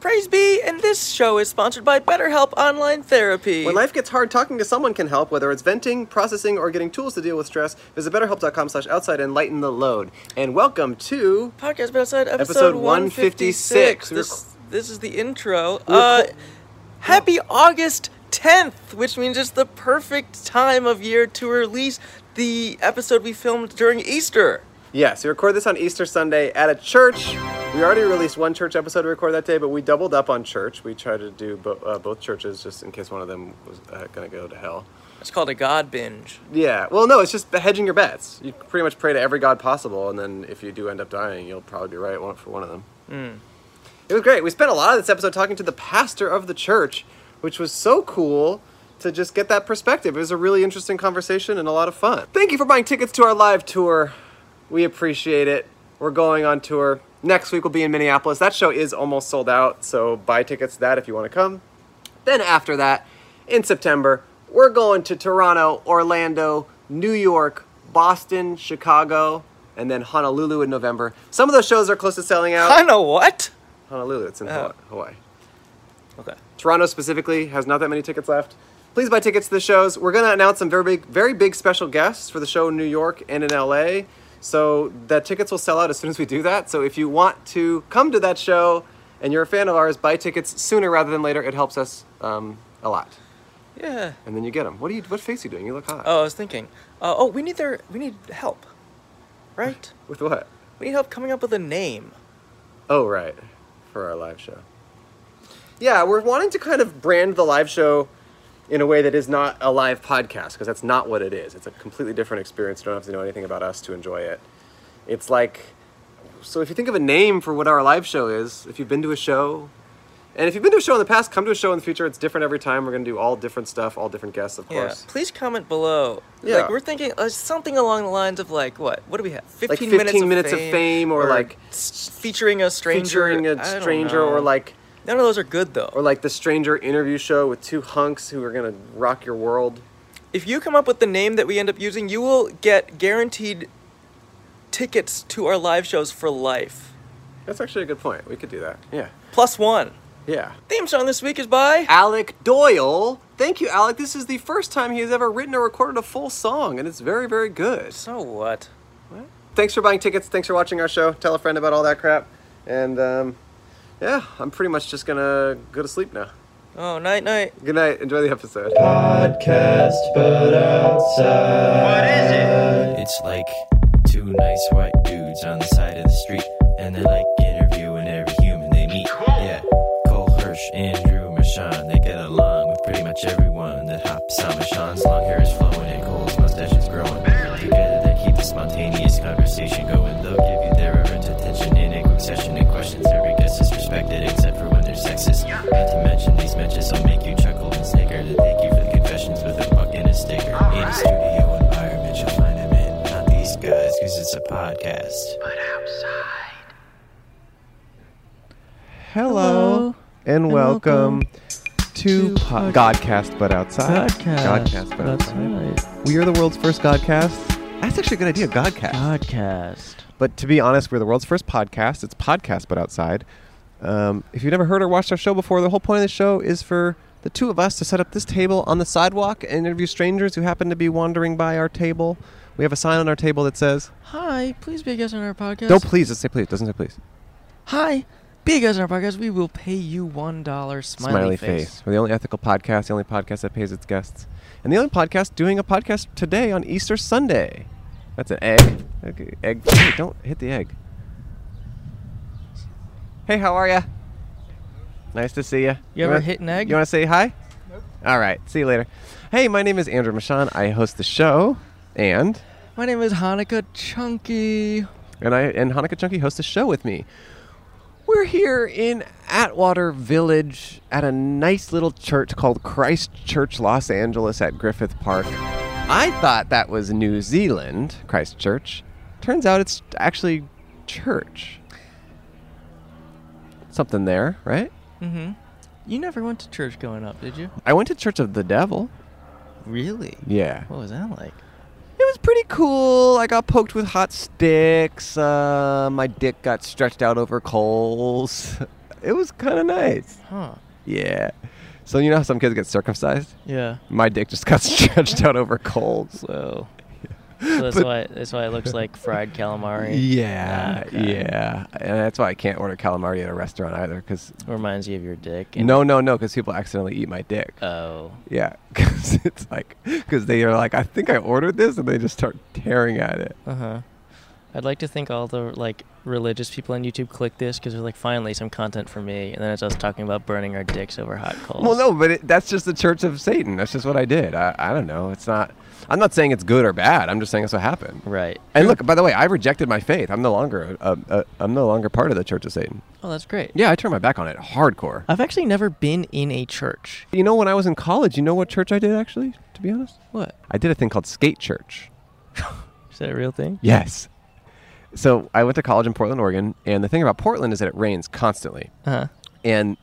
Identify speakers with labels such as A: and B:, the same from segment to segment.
A: Praise be, and this show is sponsored by BetterHelp Online Therapy.
B: When life gets hard, talking to someone can help, whether it's venting, processing, or getting tools to deal with stress. Visit betterhelp.com slash outside and lighten the load. And welcome to...
A: Podcast But Outside, episode,
B: Episode
A: 156.
B: 156.
A: This, this is the intro.
B: We
A: Uh,
B: record-
A: happy August 10th, which means it's the perfect time of year to release the episode we filmed during Easter.
B: Yes, we record this on Easter Sunday at a church. We already released one church episode we recorded that day, but we doubled up on church. We tried to do bo- uh, both churches just in case one of them was uh, going to go to hell.
A: It's called a God binge.
B: Yeah, well, no, it's just hedging your bets. You pretty much pray to every god possible, and then if you do end up dying, you'll probably be right one- for one of them. It was great. We spent a lot of this episode talking to the pastor of the church, which was so cool to just get that perspective. It was a really interesting conversation and a lot of fun. Thank you for buying tickets to our live tour. We appreciate it. We're going on tour. Next week we'll be in Minneapolis. That show is almost sold out, so buy tickets to that if you want to come. Then after that, in September, we're going to Toronto, Orlando, New York, Boston, Chicago, and then Honolulu in November. Some of those shows are close to selling out.
A: I know what?
B: Honolulu. It's in
A: Oh.
B: Hawaii. Hawaii.
A: Okay.
B: Toronto specifically has not that many tickets left. Please buy tickets to the shows. We're going to announce some very big, very big special guests for the show in New York and in LA. So the tickets will sell out as soon as we do that. So if you want to come to that show and you're a fan of ours, buy tickets sooner rather than later. It helps us um, a lot.
A: Yeah.
B: And then you get them. What are you? What face are you doing? You look hot.
A: Oh, I was thinking. Uh, oh, we need their. We need help, right?
B: With what?
A: We need help coming up with a name.
B: Oh, right. For our live show. Yeah, we're wanting to kind of brand the live show in a way that is not a live podcast, because that's not what it is. It's a completely different experience. You don't have to know anything about us to enjoy it. It's like, so if you think of a name for what our live show is, if you've been to a show, and if you've been to a show in the past, come to a show in the future. It's different every time. We're going to do all different stuff, all different guests, of
A: Yeah.
B: course.
A: Please comment below.
B: Yeah.
A: Like we're thinking uh, something along the lines of like what? What do we have?
B: Like
A: Fifteen,
B: 15 minutes of fame or, like,
A: s- featuring a stranger.
B: Featuring
A: I
B: a
A: don't
B: stranger
A: know.
B: or like
A: none of those are good though.
B: or like the stranger interview show with two hunks who are gonna rock your world.
A: if you come up with the name that we end up using, you will get guaranteed tickets to our live shows for life.
B: That's actually a good point. We could do that. Yeah.
A: Plus one.
B: Yeah.
A: Theme song this week is by.
B: Alec Doyle. Thank you, Alec. This is the first time he has ever written or recorded a full song, and it's very, very good.
A: So what?
B: Thanks for buying tickets. Thanks for watching our show. Tell a friend about all that crap. And um, yeah, I'm pretty much just gonna go to sleep now.
A: Oh, night night.
B: Good night. Enjoy the episode.
C: podcast, but outside. What is it? It's like two nice white dudes on the side of the street, and they like interviewing every human they meet. Yeah, Cole Hirsch, Andrew Michon, they get along with pretty much everyone that hops on Michon's long hair is flowing and Cole's mustache is growing. Together they keep the spontaneous conversation going. They'll give you their errant attention in a quick session and questions. Every guest is respected except for when they're sexist. Not to mention these matches will make you chuckle and snicker. To thank you for the confessions with a buck and a sticker. In a studio environment, you'll find them in. Not these guys, cause it's a podcast.
B: Hello, and welcome, to po- Godcast But Outside. Godcast But Outside. We are the world's first Godcast. That's actually a good idea, Godcast.
D: podcast.
B: But to be honest, we're the world's first podcast. It's podcast, but outside. Um, if you've never heard or watched our show before, the whole point of the show is for the two of us to set up this table on the sidewalk and interview strangers who happen to be wandering by our table. We have a sign on our table that says,
D: Hi, please be a guest on our podcast.
B: "Don't please." It say please. It doesn't say please.
D: Hi, be a guest on our podcast. We will pay you one dollar. Smiley, face.
B: We're the only ethical podcast, the only podcast that pays its guests, and the only podcast doing a podcast today on Easter Sunday. That's an egg. Okay, egg. Hey, don't hit the egg. Hey, how are ya? Nice to see ya.
D: You ever
B: wanna-
D: hit an egg?
B: You want to say hi? Nope. All right. See you later. Hey, my name is Andrew Michon. I host the show, and
D: My name is Hanukkah Chunky.
B: and I and Hanukkah Chunky hosts a show with me. We're here in Atwater Village at a nice little church called Christ Church Los Angeles at Griffith Park. I thought that was New Zealand, Christ Church. Turns out it's actually church. Something there, right?
E: Mm-hmm.
D: You never went to church growing up, did you?
B: I went to Church of the Devil.
D: Really?
B: Yeah.
D: What was that like?
B: It was pretty cool. I got poked with hot sticks. Uh, my dick got stretched out over coals. It was kind of nice.
E: Huh.
B: Yeah. So you know how some kids get circumcised?
E: Yeah.
B: My dick just got stretched out over colds.
E: So, so that's
B: But-
E: why that's why it looks like fried calamari. Ah,
B: Yeah,
E: Okay.
B: yeah, and that's why I can't order calamari at a restaurant either. Because
E: Reminds you of your dick. and-
B: no, no, no, because people accidentally eat my dick.
E: Oh.
B: Yeah, because it's like, because they are like, I think I ordered this, and they just start tearing at it.
E: Uh huh. I'd like to think all the like religious people on YouTube click this because they're like, finally some content for me, and then it's us talking about burning our dicks over hot coals.
B: Well, no, but it, that's just the Church of Satan. That's just what I did. I, I don't know. It's not. I'm not saying it's good or bad. I'm just saying that's what happened.
E: Right.
B: And look, by the way, I rejected my faith. I'm no longer. Uh, uh, I'm no longer part of the Church of Satan.
E: Oh, that's great.
B: Yeah, I turned my back on it hardcore.
E: I've actually never been in a church.
B: You know, when I was in college, you know what church I did actually? To be honest,
E: What?
B: I did a thing called skate church.
E: Is that a real thing?
B: Yes. So I went to college in Portland, Oregon, and the thing about Portland is that it rains constantly,
E: Uh huh.
B: and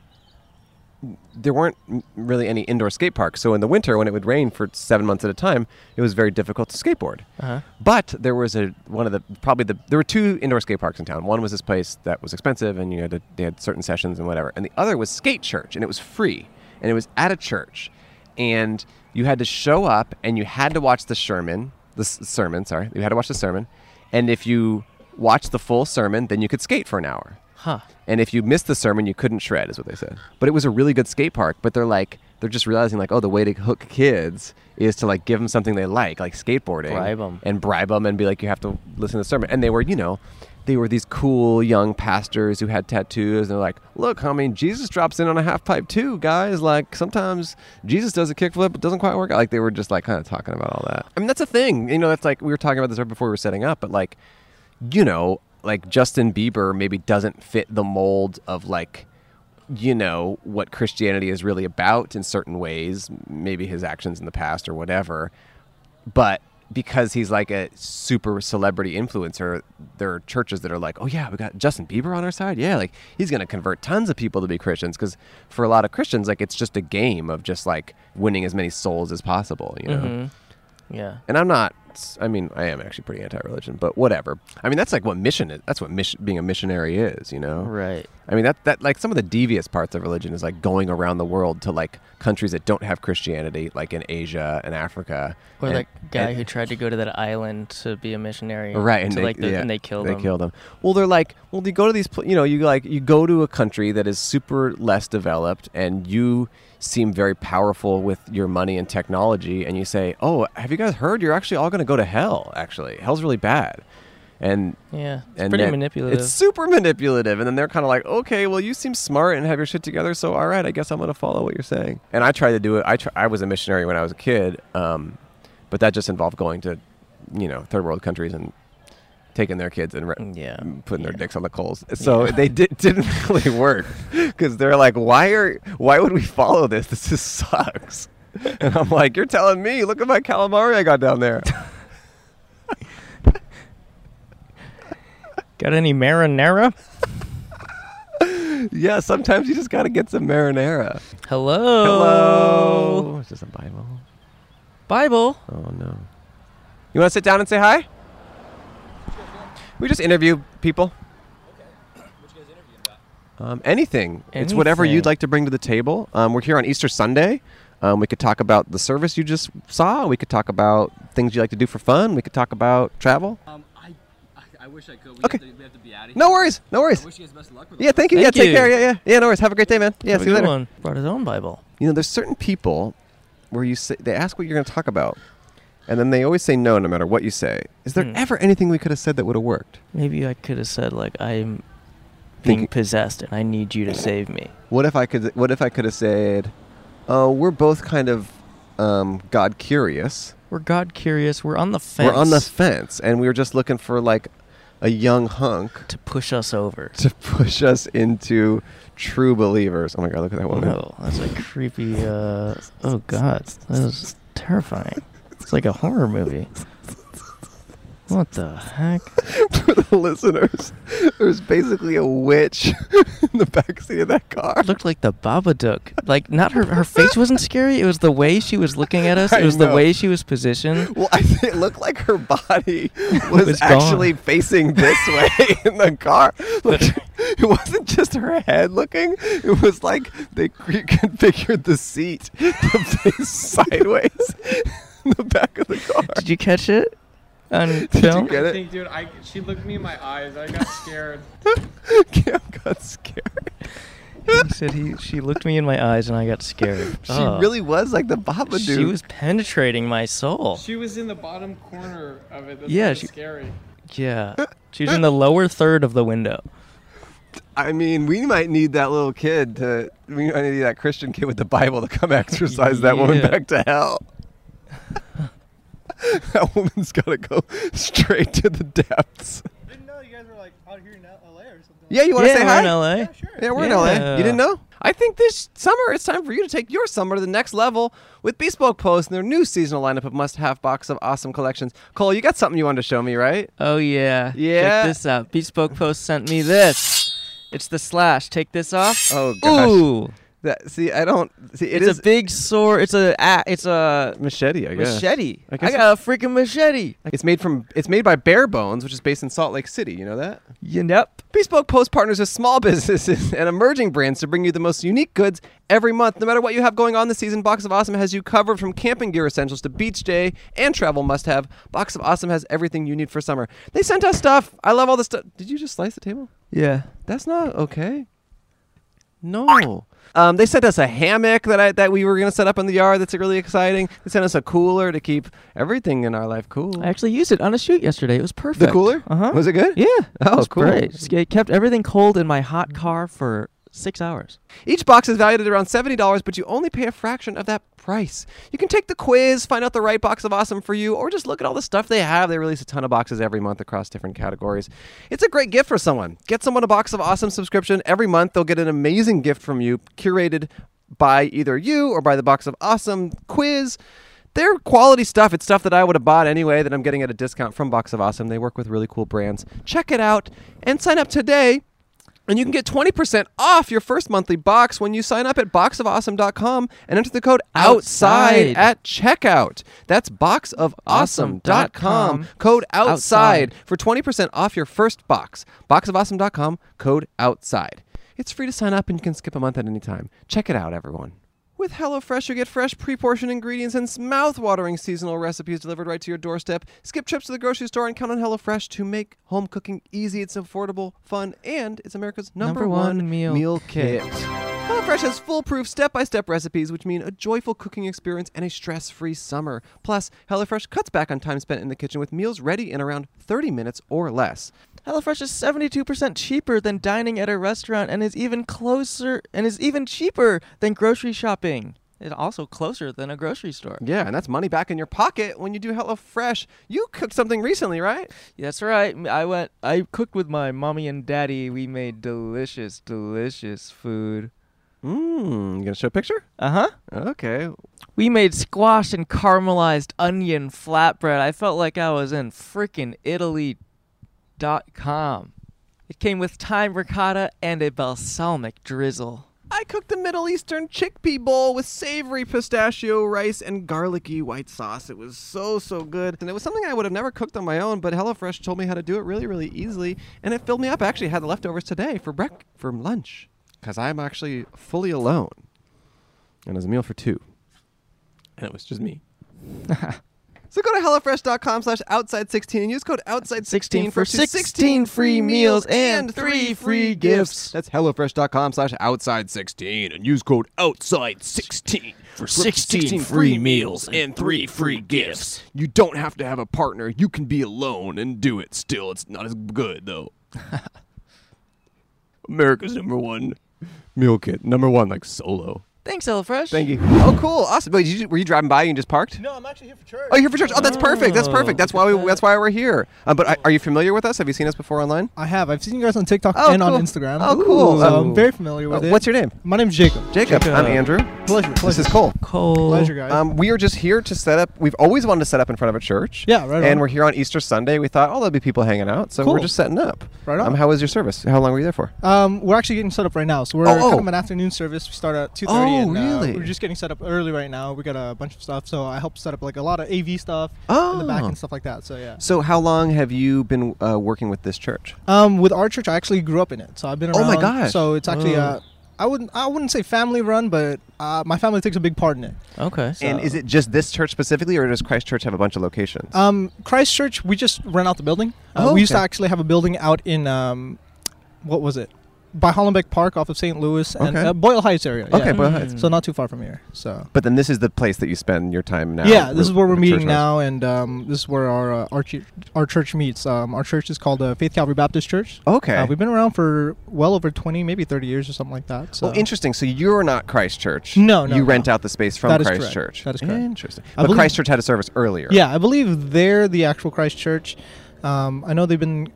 B: there weren't m- really any indoor skate parks. So in the winter, when it would rain for seven months at a time, it was very difficult to skateboard.
E: Uh-huh.
B: But there was a one of the probably the there were two indoor skate parks in town. One was this place that was expensive, and you had to, they had certain sessions and whatever, and the other was Skate Church, and it was free, and it was at a church, and you had to show up, and you had to watch the sermon, the s- sermon, sorry, you had to watch the sermon, and if you watched the full sermon, then you could skate for an hour.
E: Huh.
B: And if you missed the sermon, you couldn't shred, is what they said. But it was a really good skate park. But they're like, they're just realizing like, oh, the way to hook kids is to like give them something they like, like skateboarding,
E: Bribe 'em.
B: and bribe them, and be like, you have to listen to the sermon. And they were, you know, they were these cool young pastors who had tattoos. And they're like, look, I mean, Jesus drops in on a half pipe too, guys. Like sometimes Jesus does a kickflip, it doesn't quite work out. Like they were just like kind of talking about all that. I mean, that's a thing. You know, that's like we were talking about this right before we were setting up, but like you know, like Justin Bieber maybe doesn't fit the mold of like, you know, what Christianity is really about in certain ways, maybe his actions in the past or whatever. But because he's like a super celebrity influencer, there are churches that are like, oh yeah, we got Justin Bieber on our side. Yeah, like he's going to convert tons of people to be Christians. Because for a lot of Christians, like it's just a game of just like winning as many souls as possible, you know?
E: Mm-hmm. Yeah.
B: and I'm not. I mean, I am actually pretty anti-religion, but whatever. I mean, that's like what mission is. That's what mission, being a missionary is. You know.
E: Right.
B: I mean, that that like some of the devious parts of religion is like going around the world to like countries that don't have Christianity, like in Asia and Africa.
E: Or
B: and-
E: that guy
B: and-
E: who tried to go to that island to be a missionary.
B: right and
E: to,
B: they,
E: like, the,
B: yeah,
E: and they killed
B: they
E: him.
B: killed him well they're like well you go to these pl- you know you like you go to a country that is super less developed and you seem very powerful with your money and technology and you say oh have you guys heard you're actually all going to go to hell actually hell's really bad and
E: Yeah. It's
B: and
E: pretty
B: then-
E: manipulative.
B: It's super manipulative. And then they're kind of like, okay, well, you seem smart and have your shit together. So, all right, I guess I'm going to follow what you're saying. And I tried to do it. I, try, I was a missionary when I was a kid. Um, but that just involved going to, you know, third world countries and taking their kids and re-
E: Mm, Yeah,
B: Mm, putting their
E: yeah.
B: dicks on the coals. So they did, didn't really work because they're like, why are, why would we follow this? This just sucks. And I'm like, you're telling me, look at my calamari I got down there.
E: Got any marinara?
B: yeah, sometimes you just got to get some marinara.
E: Hello.
B: Hello. Is this a Bible?
E: Bible.
B: Oh no. You want to sit down and say hi? We just interview people. Um, anything. It's whatever
E: Anything.
B: you'd like to bring to the table. Um, we're here on Easter Sunday. Um, we could talk about the service you just saw. We could talk about things you like to do for fun. We could talk about travel.
F: Um, I, I, I wish I could. We,
B: Okay.
F: have, to, we have to be out of here.
B: No worries. No
F: I
B: worries.
F: wish you guys best of luck with
B: Yeah, thank you.
E: Thank
B: yeah, take
E: you.
B: care. Yeah, yeah. Yeah, no worries. Have a great day, man. Yeah,
E: Have a
B: see you
E: good
B: later.
E: One. Brought his own Bible.
B: you know, there's certain people where you say they ask what you're going to talk about, and then they always say no, no matter what you say. Is there
E: Hmm.
B: ever anything we could have said that would have worked?
E: Maybe I could have said like I'm being
B: Thinking-
E: possessed and I need you to save me.
B: What if I could? What if I could have said, "Oh, we're both kind of um, God curious.
E: We're God curious. We're on the fence.
B: We're on the fence, and we were just looking for like a young hunk
E: to push us over.
B: to push us into true believers." Oh my God, look at that woman.
E: No, that's a creepy. Uh, oh God, that was terrifying. It's like a horror movie. What the heck?
G: for the listeners, there was basically a witch in the backseat of that car.
E: It looked like the Babadook. Like not her her face wasn't scary. It was the way she was looking at us.
G: I
E: It was the
G: know.
E: way she was positioned.
G: Well, I think it looked like her body was,
E: Was gone.
G: actually facing this way in the car. Like, it wasn't just her head looking. It was like they reconfigured the seat to face sideways in the back of the car.
E: Did you catch it? On
G: Did
E: film?
G: you get
H: I
G: it?
H: think, dude, I, she looked me in my eyes. I got scared.
G: Cam got scared.
E: He said he she looked me in my eyes and I got scared.
G: She
E: Oh.
G: really was like the Babadook.
E: She was penetrating my soul.
H: she was in the bottom corner of it. That's
E: Yeah,
H: yeah,
E: she-
H: scary.
E: Yeah. She was in the lower third of the window.
G: I mean, we might need that little kid to. We might need that Christian kid with the Bible to come exercise that woman
E: Yeah.
G: back to hell. that woman's got to go straight to the depths.
H: I didn't know you guys were like out here in LA or something. oh,
G: Yeah, you want to
E: yeah,
G: say
E: we're
G: hi?
E: in LA.
G: Yeah, we're in LA.
E: Yeah.
G: You didn't know?
B: I think this summer it's time for you to take your summer to the next level with Bespoke Post and their new seasonal lineup of must-have box of awesome collections. Cole, you got something you wanted to show me, right?
E: Oh yeah.
B: Yeah.
E: Check this out. Bespoke Post sent me this. It's the slash. Take this off.
G: Oh gosh.
E: Ooh.
G: That see, I don't see. It
E: it's
G: is
E: a big sword. It's a ah, it's a
B: Machete, I guess.
E: machete.
B: I
E: I,
B: guess-
E: got a freaking machete.
B: It's made from it's made by Bare Bones, which is based in Salt Lake City. You know that?
E: Yep.
B: Bespoke Post partners with small businesses and emerging brands to bring you the most unique goods every month. No matter what you have going on this season, Box of Awesome has you covered from camping gear essentials to beach day and travel must have. Box of Awesome has everything you need for summer. They sent us stuff. I love all the stuff. Did you just slice the table?
E: Yeah.
B: That's not okay. No. Um, they sent us a hammock that I, that we were going to set up in the yard. That's really exciting. They sent us a cooler to keep everything in our life cool.
E: I actually used it on a shoot yesterday. It was perfect.
G: the cooler.
E: Uh huh.
G: Was it good?
E: Yeah.
G: Oh,
E: it was
G: cool.
E: Great. Just- It kept everything cold in my hot car for six hours.
B: Each box is valued at around $70, but you only pay a fraction of that price. You can take the quiz, find out the right box of awesome for you, or just look at all the stuff they have. They release a ton of boxes every month across different categories. It's a great gift for someone. Get someone a box of awesome subscription. Every month, they'll get an amazing gift from you, curated by either you or by the box of awesome quiz. They're quality stuff. It's stuff that I would have bought anyway that I'm getting at a discount from Box of Awesome. They work with really cool brands. Check it out and sign up today. And you can get 20% off your first monthly box when you sign up at boxofawesome.com and enter the code outside,
E: Outside.
B: at checkout. That's boxofawesome.com,
E: Awesome.com.
B: code outside,
E: Outside.
B: for 20% off your first box. Boxofawesome.com, code outside. It's free to sign up and you can skip a month at any time. Check it out, everyone. With HelloFresh, you get fresh, pre-portioned ingredients and mouth-watering seasonal recipes delivered right to your doorstep. Skip trips to the grocery store and count on HelloFresh to make home cooking easy. It's affordable, fun, and it's America's number,
E: Number
B: one,
E: one meal
B: kit.
E: kit.
B: HelloFresh has foolproof, step-by-step recipes, which mean a joyful cooking experience and a stress-free summer. Plus, HelloFresh cuts back on time spent in the kitchen with meals ready in around 30 minutes or less.
E: HelloFresh is 72% cheaper than dining at a restaurant and is even closer and is even cheaper than grocery shopping. It's also closer than a grocery store.
B: Yeah, and that's money back in your pocket when you do HelloFresh. You cooked something recently, right?
E: That's right. m- I went. I cooked with my mommy and daddy. We made delicious, delicious food.
B: Mmm, you gonna show a picture?
E: Uh huh.
B: Okay.
E: We made squash and caramelized onion flatbread. I felt like I was in frickin' Italy. Dot com. It came with thyme ricotta and a balsamic drizzle.
B: I cooked a Middle Eastern chickpea bowl with savory pistachio rice and garlicky white sauce. It was so, so good. And it was something I would have never cooked on my own, but HelloFresh told me how to do it really, really easily. And it filled me up. I actually had the leftovers today for brec- for lunch because I'm actually fully alone. And it was a meal for two. And it was just me. so go to HelloFresh.com slash Outside16 and use code Outside16 for 16 free meals and 3 free gifts. That's HelloFresh.com slash Outside16 and use code Outside16 for 16 free meals and 3 free gifts. You don't have to have a partner. You can be alone and do it still. It's not as good, though. America's number one meal kit. Number one, like solo.
A: Thanks, HelloFresh.
B: Thank you. Oh, cool. Awesome. Wait, did you, were you driving by and you just parked?
H: No, I'm actually here for church.
B: Oh, you're here for church. Oh, that's perfect. That's
A: Oh,
B: perfect. That's why
A: look at
B: we. That's why we're here. Uh, but I, are you familiar with us? Have you seen us before online?
H: I have. I've seen you guys on TikTok
B: Oh,
H: and
B: cool.
H: on Instagram.
B: Oh, cool.
H: So
B: Ooh.
H: I'm very familiar
B: Uh,
H: with it.
B: what's your name?
H: My name's Jacob.
B: Jacob. I'm
A: Jacob.
B: Andrew.
H: Pleasure.
B: This
H: pleasure.
B: is Cole.
E: Oh,
A: Cole.
H: Pleasure, guys.
B: Um, we are just here to set up. We've always wanted to set up in front of a church.
H: Yeah, right
B: And
H: on.
B: we're here on Easter Sunday. We thought, oh, there'll be people hanging out, so we're
H: Cool.
B: just setting up.
H: Right on.
B: Um, how was your service? How long were you there for?
H: Um, we're actually getting set up right now, so we're
B: Oh, oh.
H: kind of an afternoon service. We start at two thirty.
B: Oh,
H: and, uh,
B: really?
H: we're just getting set up early right now. We got a bunch of stuff, so I helped set up like a lot of AV stuff in the back
B: Oh.
H: and stuff like that. So yeah.
B: So, how long have you been uh, working with this church?
H: Um, with our church, I actually grew up in it, so I've been around.
B: Oh my gosh.
H: So it's actually
A: Oh.
H: uh, I wouldn't I wouldn't say family run, but uh, my family takes a big part in it.
A: Okay.
B: And
H: So-
B: is it just this church specifically, or does Christ Church have a bunch of locations?
H: Um, Christchurch, we just rent out the building. Uh,
B: Oh,
H: we used to
B: okay.
H: actually have a building out in um, what was it? By Hollenbeck Park, off of St. Louis and
B: Okay.
H: uh, Boyle Heights area.
B: okay,
H: yeah.
B: Boyle Heights.
H: So not too far from here. So.
B: But then this is the place that you spend your time now.
H: Yeah, this is where we're
B: the church
H: meeting
B: house.
H: now, and um, this is where our uh, our, chu- our church meets. Um, our church is called uh, Faith Calvary Baptist Church.
B: Okay.
H: uh, we've been around for well over twenty, maybe thirty years or something like that. So
B: Well, interesting. So you're not Christchurch.
H: No, no,
B: You rent
H: no.
B: out the space from
H: That is correct.
B: Christchurch.
H: That is correct.
B: Interesting. but
H: I believe-
B: Christchurch had a service earlier.
H: Yeah, I believe they're the actual Christ Church. Um, I know they've been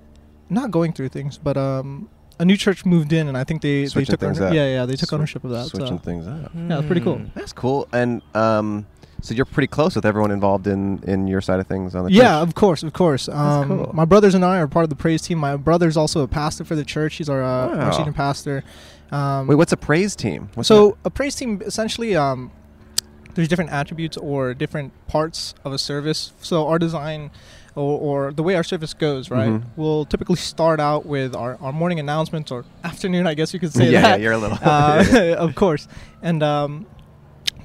H: not going through things, but um, a new church moved in, and I think they
B: Switching
H: they took
B: things
H: owner-
B: up.
H: yeah yeah they took
B: Swi-
H: ownership of that. So.
B: Switching things up.
H: Yeah, it's pretty cool.
E: hmm.
B: That's cool. And um, so you're pretty close with everyone involved in in your side of things on the
H: Yeah,
B: church.
H: of course, of course. Um,
B: cool.
H: My brothers and I are part of the praise team. My brother's also a pastor for the church. He's our, uh,
B: Wow.
H: our senior pastor. Um,
B: Wait, what's a praise team? What's
H: so a praise team essentially um, there's different attributes or different parts of a service so our design or, or the way our service goes right
B: Mhm.
H: we'll typically start out with our, our morning announcements or afternoon i guess you could
B: that?
H: say
B: yeah, yeah,
H: that
B: you're a little.
H: uh, of course and um,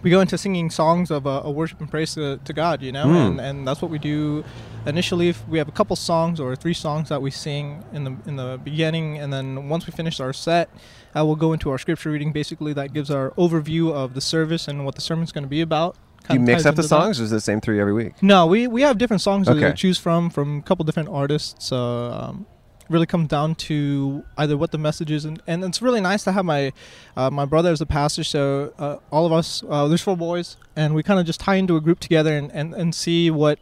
H: we go into singing songs of uh, a worship and praise to, to god you know
B: Mm.
H: and, and that's what we do initially if we have a couple songs or three songs that we sing in the in the beginning and then once we finish our set uh, we'll go into our scripture reading basically that gives our overview of the service and what the sermon's going to be about
B: Do you
H: Kinda
B: mix
H: ties
B: up the
H: into that.
B: songs, or is it the same three every week?
H: no we we have different songs that
B: Okay.
H: we choose from from a couple different artists so um, really comes down to either what the message is and, and it's really nice to have my uh, my brother as a pastor so uh, all of us uh, there's four boys and we kind of just tie into a group together and, and, and see what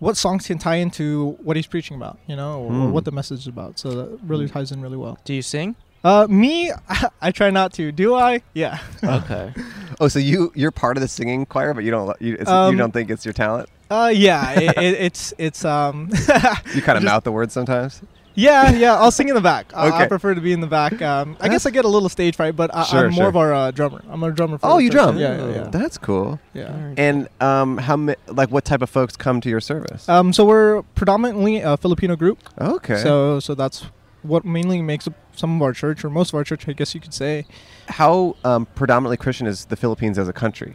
H: what songs can tie into what he's preaching about you know or, or
B: Mm.
H: what the message is about so that really ties in really well
A: Do you sing?
H: uh, me I, try not to do i yeah
A: Okay.
B: Oh, so you you're part of the singing choir, but you don't you, it's,
H: Um,
B: you don't think it's your talent.
H: uh, yeah it, it, it's it's um
B: You kind of
H: just-
B: mouth the words sometimes.
H: Yeah, yeah. I'll sing in the back. I- I
B: Okay.
H: prefer to be in the back. Um, I guess I get a little stage fright, but I,
B: Sure,
H: I'm more
B: sure.
H: of our uh, drummer. I'm a drummer. For
B: Oh,
H: the
B: you
H: church.
B: drum.
H: Yeah, yeah, yeah.
B: That's cool.
H: yeah.
B: And um, how ma- like what type of folks come to your service?
H: Um, so we're predominantly a Filipino group.
B: okay.
H: So, so that's what mainly makes up some of our church, or most of our church, I guess you could say.
B: how um, predominantly Christian is the Philippines as a country?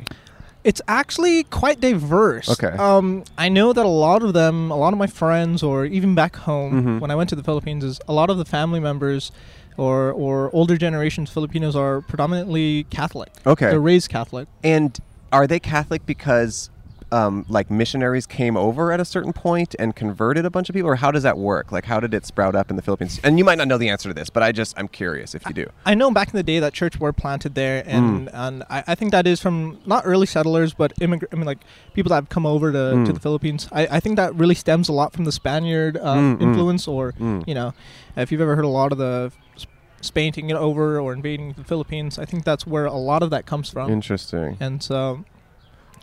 H: It's actually quite diverse.
B: Okay.
H: Um, I know that a lot of them, a lot of my friends, or even back home
B: Mhm.
H: when I went to the Philippines, is a lot of the family members, or or older generations Filipinos are predominantly Catholic.
B: Okay.
H: They're raised Catholic.
B: And are they Catholic because um, like missionaries came over at a certain point and converted a bunch of people, or how does that work? Like, how did it sprout up in the Philippines? And you might not know the answer to this, but I just I'm curious if you do.
H: I know back in the day that church were planted there, and
B: Hmm.
H: and I, I think that is from not early settlers, but immigrant. I mean, like people that have come over to,
B: Hmm.
H: to the Philippines. I, I think that really stems a lot from the Spaniard um,
B: Mm, mm.
H: influence, or
B: Mm.
H: you know, if you've ever heard a lot of the s- Spain taking it over or invading the Philippines, I think that's where a lot of that comes from.
B: Interesting.
H: and so,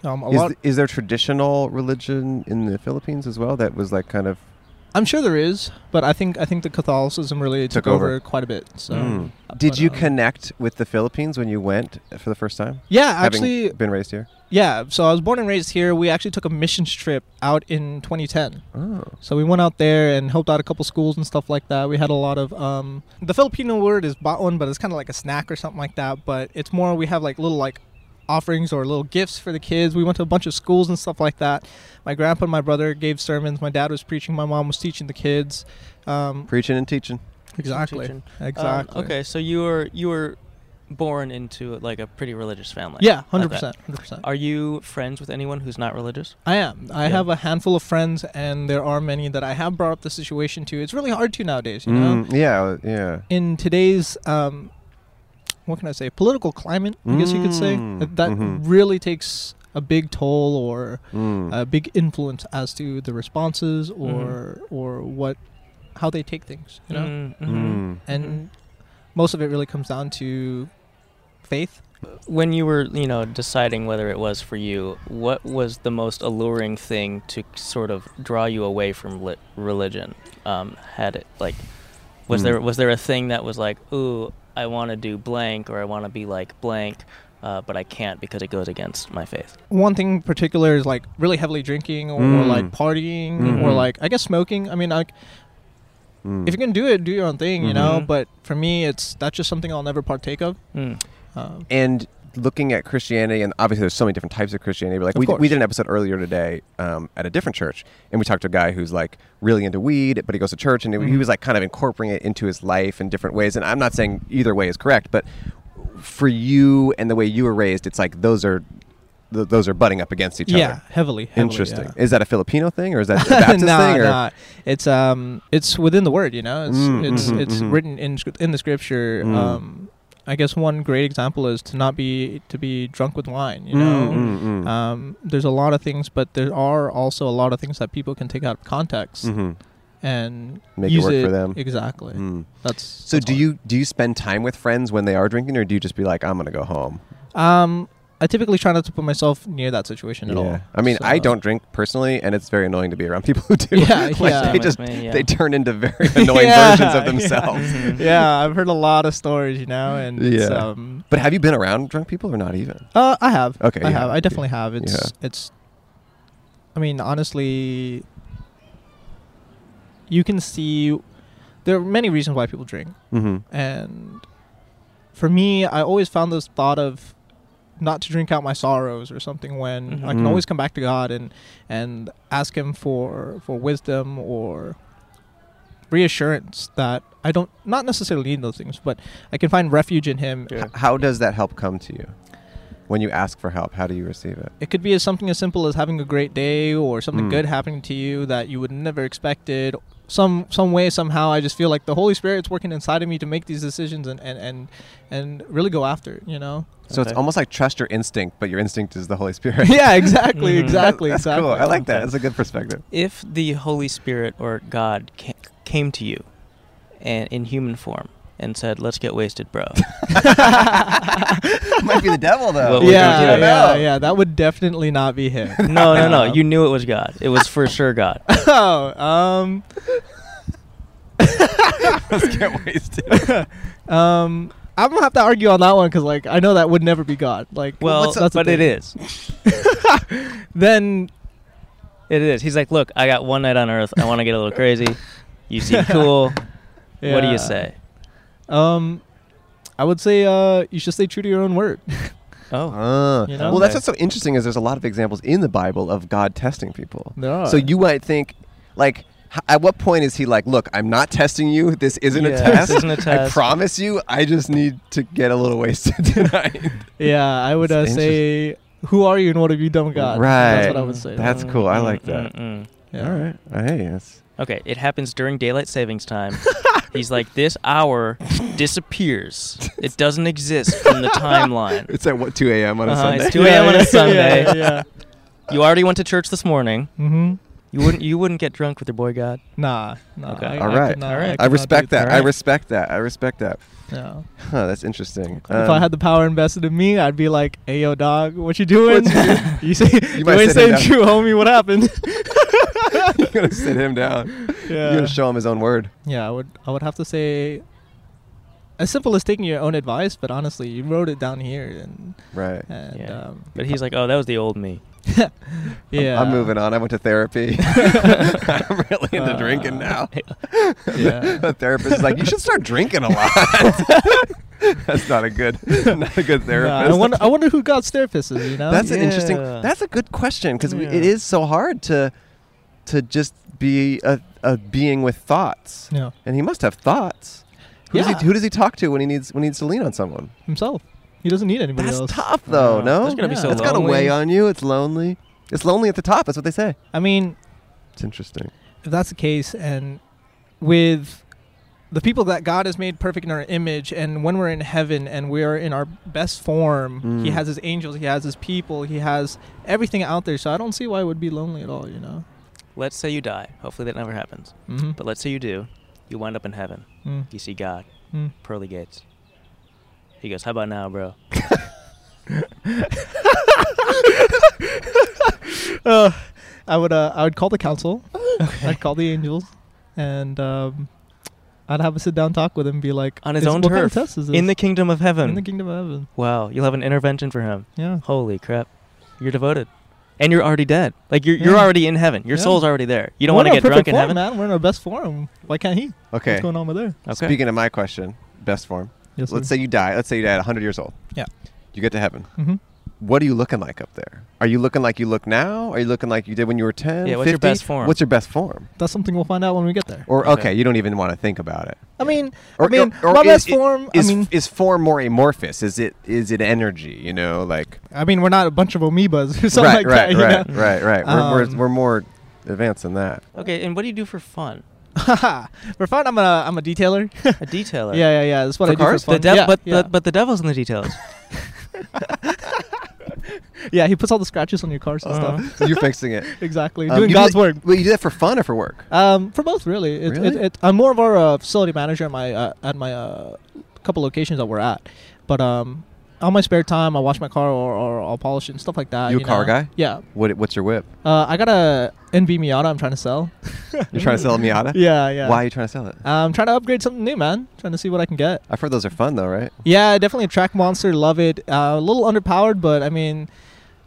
H: um, a
B: Is,
H: lot.
B: th- is there traditional religion in the Philippines as well that was like kind of
H: I'm sure there is, but I think I think the Catholicism really took,
B: Took over. Hmm.
H: quite a bit. So,
B: Did
H: but,
B: you
H: um,
B: connect with the Philippines when you went for the first time?
H: Yeah, actually,
B: having been raised here.
H: Yeah, so I was born and raised here. We actually took a missions trip out in 2010.
B: Oh,
H: So we went out there and helped out a couple schools and stuff like that. We had a lot of um, the Filipino word is baon, but it's kind of like a snack or something like that. But it's more we have like little like offerings or little gifts for the kids. We went to a bunch of schools and stuff like that. My grandpa and my brother gave sermons. My dad was preaching. My mom was teaching the kids. Um,
B: preaching and teaching.
H: exactly.
A: Teaching.
H: Exactly.
A: Um, okay, so you were you were born into like a pretty religious family.
H: Yeah,
A: like
H: hundred
A: that.
H: percent, hundred percent.
A: Are you friends with anyone who's not religious?
H: I am. I
A: Yeah.
H: have a handful of friends, and there are many that I have brought up the Hmm. situation to. It's really hard to nowadays, you know.
B: Mm, yeah, yeah.
H: In today's um, what can I say political climate. I guess you could say
B: Mm,
H: that, that
B: mhm.
H: really takes a big toll or
B: Mm.
H: a big influence as to the responses or
B: Mm-hmm.
H: or what how they take things. You know,
B: Mm.
H: and most of it really comes down to faith.
E: when you were you know deciding whether it was for you what was the most alluring thing to sort of draw you away from lit- religion um, had it like was
B: Hmm.
E: there was there a thing that was like ooh i want to do blank or i want to be like blank uh, but i can't because it goes against my faith
H: One thing in particular is like really heavily drinking or, or, like
B: Mm.
H: partying or
B: Mhm.
H: like I guess smoking. I mean, like
B: Mm.
H: if you can do it, do your own thing, you know.
B: Mm-hmm.
E: Mhm.
H: But for me, it's that's just something I'll never partake of.
E: mm.
H: Um,
B: and looking at Christianity, and obviously there's so many different types of Christianity. But like
H: Of
B: we,
H: course.
B: we did an episode earlier today um, at a different church, and we talked to a guy who's like really into weed, but he goes to church, and
H: Mm-hmm.
B: he was like kind of incorporating it into his life in different ways. And I'm not saying either way is correct, but for you and the way you were raised, it's like those are th- those are butting up against each
H: yeah,
B: other.
H: heavily, heavily.
B: Interesting.
H: yeah.
B: Is that a Filipino thing, or is that a Baptist
H: no,
B: thing? Or?
H: no. It's um, it's within the word, you know. It's
B: Mm,
H: it's
B: mhm,
H: it's
B: mhm.
H: written in scrip- in the scripture.
B: Mm.
H: Um, I guess one great example is to not be to be drunk with wine. You
B: Mm,
H: know,
B: mm, mm.
H: um, there's a lot of things, but there are also a lot of things that people can take out of context
B: Mhm.
H: and
B: Make it
H: use
B: work for them.
H: Exactly.
B: Mm.
H: That's
B: So
H: that's
B: do
H: all.
B: you do you spend time with friends when they are drinking, or do you just be like, I'm gonna go home?
H: Um, I typically try not to put myself near that situation at all.
B: I mean, I
H: So-
B: don't drink personally, and it's very annoying to be around people who do.
H: Yeah,
B: Like,
H: yeah.
B: They just
E: Same with me, yeah.
B: they turn into very annoying
H: Yeah,
B: versions of
H: yeah.
B: themselves.
H: Yeah, I've heard a lot of stories, you know, and it's,
B: Yeah.
H: um,
B: But have you been around drunk people or not even?
H: Uh, I have.
B: Okay,
H: I
B: you
H: have.
B: have.
H: I definitely have. It's
B: Yeah.
H: it's. I mean, honestly, you can see there are many reasons why people drink,
B: Mm-hmm.
H: and for me, I always found this thought of not to drink out my sorrows or something when I can
B: Mhm.
H: always come back to God and and ask Him for for wisdom or reassurance that I don't not necessarily need those things, but I can find refuge in Him
B: How does that help come to you? When you ask for help, how do you receive it?
H: It could be as something as simple as having a great day or something
B: Mm.
H: good happening to you that you would never expected. Some some way somehow I just feel like the Holy Spirit's working inside of me to make these decisions and and and, and really go after it, you know.
B: So it's almost like trust your instinct, but your instinct is the Holy Spirit.
H: yeah, exactly,
E: Mhm.
H: exactly,
B: That's
H: exactly.
B: cool. I like that.
E: Okay.
B: That's a good perspective.
E: if the holy spirit or god ca- came to you and in human form and said let's get wasted bro
B: Might be the devil though.
E: What would you
H: yeah,
E: do?
H: yeah, yeah. That would definitely not be him.
E: no no no
H: Um,
E: you knew it was god it was for sure god
H: oh, um,
B: Let's get wasted.
H: um, I'm gonna have to argue on that one because like I know that would never be God. Like,
E: well
H: that's the
E: but it
H: thing.
E: is
H: Then
E: It is. He's like, look, I got one night on Earth. I want to get a little crazy. You seem cool. What do
H: yeah.
E: you say?
H: Um, I would say uh, you should stay true to your own word.
E: Oh,
B: Ah.
H: You know?
B: Well, that's
E: Okay.
B: what's so interesting is there's a lot of examples in the Bible of God testing people.
H: There are.
B: So you might think, like, h- at what point is he like, look, I'm not testing you. This isn't a
E: Yeah, this
B: test.
E: isn't a
B: I
E: test."
B: promise you, I just need to get a little wasted tonight.
H: Yeah, I would uh,
B: It's
H: say, "Who are you, and what have you done, with God?" That's what I
B: Right.
H: would say.
B: That's cool. I like that.
E: Mm-mm.
H: Yeah.
B: All right. Hey, that's
E: Okay, it happens during daylight savings time. He's like, this hour disappears. It doesn't exist from the timeline.
B: it's at what 2 a.m. on a
E: Uh-huh,
B: Sunday.
E: it's 2 a.m. on
H: yeah,
E: a Sunday.
H: Yeah. yeah.
E: You already went to church this morning.
H: mm-hmm.
E: You wouldn't. You wouldn't get drunk with your boy God.
H: Nah. nah
E: Okay.
H: I,
B: All
H: I
B: right.
H: could not-
E: All right.
H: could
B: I
H: not
B: respect
H: do
B: that.
H: that.
B: I
E: Alright.
B: respect that. I respect that.
H: Yeah.
B: Huh, that's interesting.
H: if
B: Um,
H: I had the power invested in me, I'd be like, "Hey, yo, dog, what you doing?
B: What you doing?
H: you say you,
B: might
H: ain't
B: sit him
H: staying true, homie. What happened?"
B: you're gonna sit him down. You're
H: yeah.
B: gonna show him his own word.
H: yeah. I would. I would have to say, as simple as taking your own advice, but honestly, you wrote it down here, and
B: Right.
H: and
E: Yeah.
H: um,
E: But he's like, oh, that was the old me.
H: yeah.
B: I'm moving on. I went to therapy. I'm really into
H: Uh,
B: drinking now.
H: yeah.
B: the therapist is like, you should start drinking a lot. That's not a good, not a good
H: Nah,
B: therapist.
H: I wonder. I wonder who God's therapist is. You know.
B: That's an interesting.
E: Yeah.
B: That's a good question because
H: Yeah.
B: it is so hard to, to just be a, a being with thoughts,
H: yeah.
B: and he must have thoughts. Who,
H: Yeah.
B: does he, who does he talk to when he needs when he needs to lean on someone?
H: himself. He doesn't need anybody
B: That's
H: else.
B: tough though.
E: Uh,
B: no,
E: that's gonna be so
B: That's gotta
E: lonely.
B: weigh on you. It's lonely. It's lonely at the top. That's what they say.
H: I mean,
B: It's interesting.
H: if that's the case, and with the people that God has made perfect in our image, and when we're in heaven and we are in our best form,
E: Mm.
H: He has His angels, He has His people, He has everything out there. So I don't see why it would be lonely at all. You know.
E: Let's say you die. Hopefully that never happens.
H: Mm-hmm.
E: But let's say you do. You wind up in heaven. You see God.
H: Mm.
E: Pearly gates. He goes, "How about now, bro?"
H: Uh, I would uh, I would call the council. I'd call the angels, and um, I'd have a sit down talk with him. and Be like,
E: On his
H: "This-
E: own
H: what kind
E: turf,
H: of test is this?
E: in the kingdom of heaven.
H: in the kingdom of heaven.
E: wow, you'll have an intervention for him.
H: Yeah.
E: Holy crap, you're devoted, and you're already dead. Like you're you're
H: Yeah.
E: already in heaven. Your
H: Yeah.
E: soul's already there. You don't
H: We're
E: want to
H: our
E: get
H: perfect
E: drunk in
H: form,
E: heaven.
H: man. We're in our best form. Why can't he?
B: Okay.
H: What's going on with there?
E: Okay.
B: Speaking of my question, best form.
H: Yes,
B: let's
H: sir.
B: say you die. Let's say you die at 100 years old.
H: Yeah.
B: You get to heaven.
H: Mm-hmm.
B: What are you looking like up there? Are you looking like you look now? Are you looking like you did when you were 10?
E: Yeah, what's your
B: 50?
E: best form?
B: What's your best form?
H: That's something we'll find out when we get there.
B: Or
E: Okay.
B: okay, you don't even want to think about it.
H: I mean,
B: Or,
H: I mean,
B: or- or
H: my
B: is
H: best
B: it-
H: form.
B: Is,
H: I mean,
B: is form more amorphous? Is it is it energy? You know, like
H: I mean, we're not a bunch of amoebas or something
B: right,
H: like
B: right,
H: that.
B: right,
H: You know?
B: right, right, We're,
H: Um,
B: we're, we're more advanced than that.
E: Okay, and what do you do for fun?
H: Haha. for fun, I'm a I'm a detailer. yeah,
E: A detailer.
H: yeah, yeah. That's what
B: For
H: I
B: cars?
H: do for
E: The dev-
H: fun. yeah,
E: but
H: yeah.
E: The, but the devil's in the details.
H: yeah, he puts all the scratches on your cars and
E: Uh-huh.
H: stuff.
B: You're fixing it.
H: exactly,
B: Um, you
H: doing
B: do
H: God's
B: that-
H: work.
B: Well, you do that for fun or for work?
H: Um, for both, really. It,
B: Really?
H: It, it, I'm more of our uh, facility manager at my uh, at my uh, couple locations that we're at, but um, on my spare time, I wash my car or, or I'll polish it and stuff like that.
B: You a car
H: know?
B: guy?
H: Yeah.
B: What What's your whip?
H: Uh, I got a NV Miata. I'm trying to sell.
B: You're trying to sell a Miata?
H: yeah, yeah. Uh,
B: Why are you trying to sell it?
H: I'm trying to upgrade something new, man. Trying to see what I can get.
B: I've heard those are fun though, right?
H: Yeah, definitely a track monster. Love it. Uh, a little underpowered, but I mean,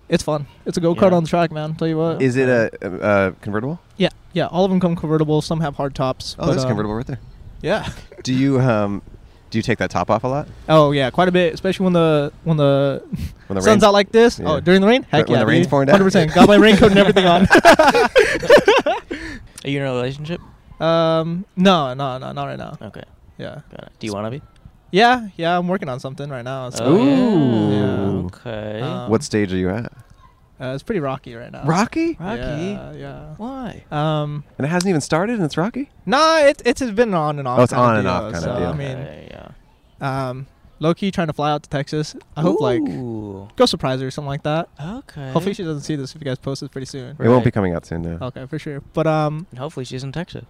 H: it's fun. It's a go kart
E: Yeah.
H: on the track, man. Tell you what.
B: Is it a, a, a convertible?
H: yeah, yeah. All of them come convertible. Some have hard tops.
B: Oh,
H: but,
B: that's
H: um,
B: convertible right there.
H: Yeah.
B: Do you um do you take that top off a lot
H: Oh yeah, quite a bit, especially when the when the
B: when the
H: sun's
B: rain's
H: out like this.
B: Yeah.
H: Oh, during the rain? Heck
B: When the
H: yeah.
B: rain's pouring down?
H: Hundred percent. Got my raincoat and everything on.
E: Are you in a relationship?
H: um, no, no, no, not right now.
E: Okay,
H: Yeah,
E: got it. Do you want to be?
H: yeah, yeah. I'm working on something right now. So
E: Oh, yeah.
B: Ooh.
E: Okay.
H: Um,
B: What stage are you at?
H: uh, it's pretty rocky right now.
B: Rocky?
E: Rocky.
H: Yeah, yeah.
E: Why?
H: Um,
B: And it hasn't even started and it's Rocky?
H: nah, it, it's it's been an on and off.
B: Oh, it's
H: kinda
B: on and
H: deal,
B: off kinda
H: so,
B: deal.
H: I mean,
E: Okay, yeah.
H: um, low key trying to fly out to Texas. I hope like
E: Ooh.
H: go surprise her or something like that.
E: Okay.
H: Hopefully she doesn't see this if you guys post it pretty soon.
B: It won't be
E: Right.
B: coming out soon, no.
H: Okay, for sure. But um,
E: And hopefully she's in Texas.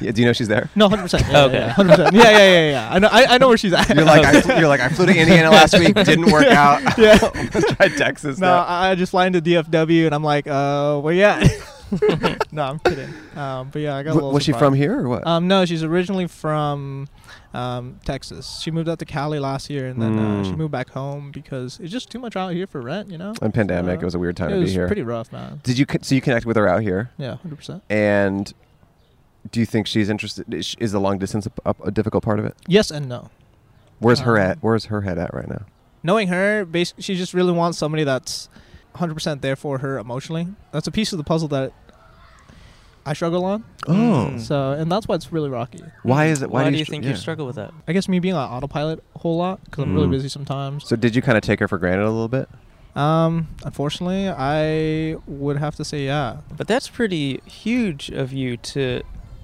B: Yeah, do you know she's there?
H: no, hundred percent. Yeah,
E: Okay.
H: okay, hundred percent. Yeah, yeah, yeah, yeah. I know, I, I know where she's at.
B: You're like I fl- you're like I flew to Indiana last week, didn't work out.
H: Yeah.
B: Try Texas.
H: No,
B: now.
H: I I just fly into DFW and I'm like, uh, where you at? no, I'm kidding. Um, but yeah, I got a
B: Wh-
H: little.
B: was she
H: surprised.
B: from here or what?
H: Um, no, she's originally from um, Texas. She moved out to Cali last year and then uh, she
B: Mm.
H: moved back home because it's just too much out here for rent, you know?
B: On pandemic,
H: uh,
B: it was a weird time
H: it
B: to be
H: was
B: here.
H: pretty rough, man.
B: Did you con- so you connect with her out here?
H: Yeah, 100%.
B: And do you think she's interested? Is, sh- is the long distance a, a, a difficult part of it?
H: Yes and no.
B: Where's her
H: Um,
B: at? Where's her head at right now?
H: Knowing her, basically, she just really wants somebody that's 100% there for her emotionally. That's a piece of the puzzle that I struggle on.
B: Oh,
H: So, and that's why it's really rocky.
B: why is it? Why,
E: Mm, Why, do you,
B: str-
E: think
B: yeah.
E: you struggle with that?
H: I guess me being on autopilot a whole lot because I'm really
B: Mm.
H: busy sometimes.
B: So did you kind of take her for granted a little bit?
H: Um, unfortunately, I would have to say yeah.
E: But that's pretty huge of you to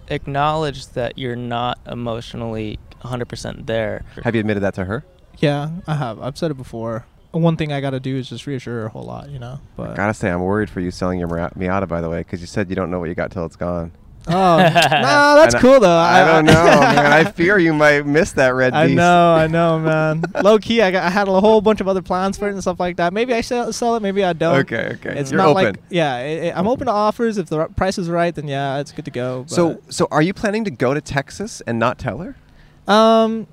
E: acknowledge that you're not emotionally 100% there.
B: Have you admitted that to her?
H: Yeah, I have. I've said it before. One thing I got to do is just reassure her a whole lot, you know.
E: Uh,
H: But
B: Gotta say, I'm worried for you selling your Mira- Miata, by the way, because you said you don't know what you got till it's gone.
H: oh, nah, that's
B: I know-
H: cool though.
B: I don't know, man. I fear you might miss that red
H: I
B: beast.
H: know, I know, man. Low key, I, got, I had a whole bunch of other plans for it and stuff like that. Maybe I sell, sell it, maybe I don't.
B: Okay, okay.
H: It's
B: You're
H: not
B: open.
H: like yeah, i i I'm open to offers if the r- price is right. Then yeah, it's good to go.
B: so, so are you planning to go to Texas and not tell her?
H: but, um,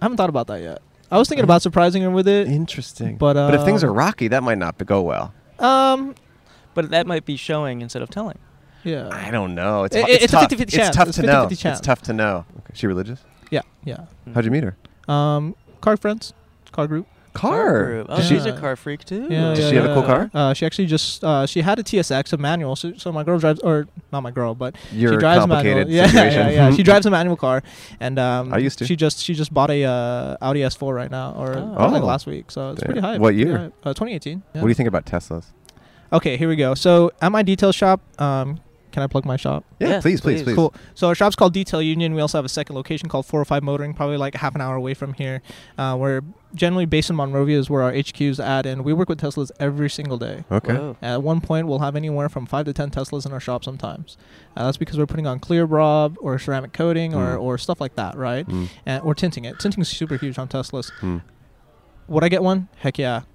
H: I haven't thought about that yet. I was thinking
B: Uh-huh.
H: about surprising her with it.
B: Interesting.
H: But,
B: but if things
H: um,
B: are rocky, that might not go well.
H: Um,
E: But that might be showing instead of telling.
H: yeah.
B: I don't know. It's,
H: I-
B: hu-
H: I-
B: it's,
H: it's a
B: tough.
H: 50-50
B: it's
H: chance.
B: tough
H: It's
B: to
H: 50-50
B: know.
H: chance.
B: It's tough to know. Okay. She religious?
H: Yeah, yeah.
B: How'd you meet her?
H: Um, car friends, car group.
B: Car.
E: group. Oh,
B: Did
H: yeah.
B: she,
E: she's a car freak too.
H: Yeah,
B: Does
H: yeah,
B: she have a cool
H: yeah.
B: car?
H: Uh, she actually just uh, she had a TSX, a manual. So, so my girl drives, or not my girl, but she
B: Your
H: drives a
B: complicated
H: manual. Yeah,
B: situation.
H: yeah, yeah. She drives a manual car, and um,
B: I used to.
H: She just she just bought a uh, Audi S4 right now, or
E: Oh.
H: like
B: Oh.
H: last week. So it's
B: Damn.
H: pretty high.
B: What year?
H: Uh, 2018. Yeah.
B: What do you think about Teslas?
H: Okay, here we go. So at my detail shop, um, Can I plug my shop?
B: Yeah,
E: Yeah,
B: please, please, please.
E: please.
H: Cool. So our shop's called Detail Union. We also have a second location called 405 Motoring, probably like half an hour away from here. Uh, we're generally based in Monrovia is where our HQ's at, and we work with Teslas every single day.
B: Okay.
E: Whoa.
H: At one point, we'll have anywhere from five to ten Teslas in our shop sometimes. Uh, that's because we're putting on clear rob or ceramic coating or,
B: Mm.
H: or stuff like that, right?
B: Mm.
H: And, or tinting it. Tinting's super huge on Teslas.
B: Mm.
H: Would I get one? Heck yeah.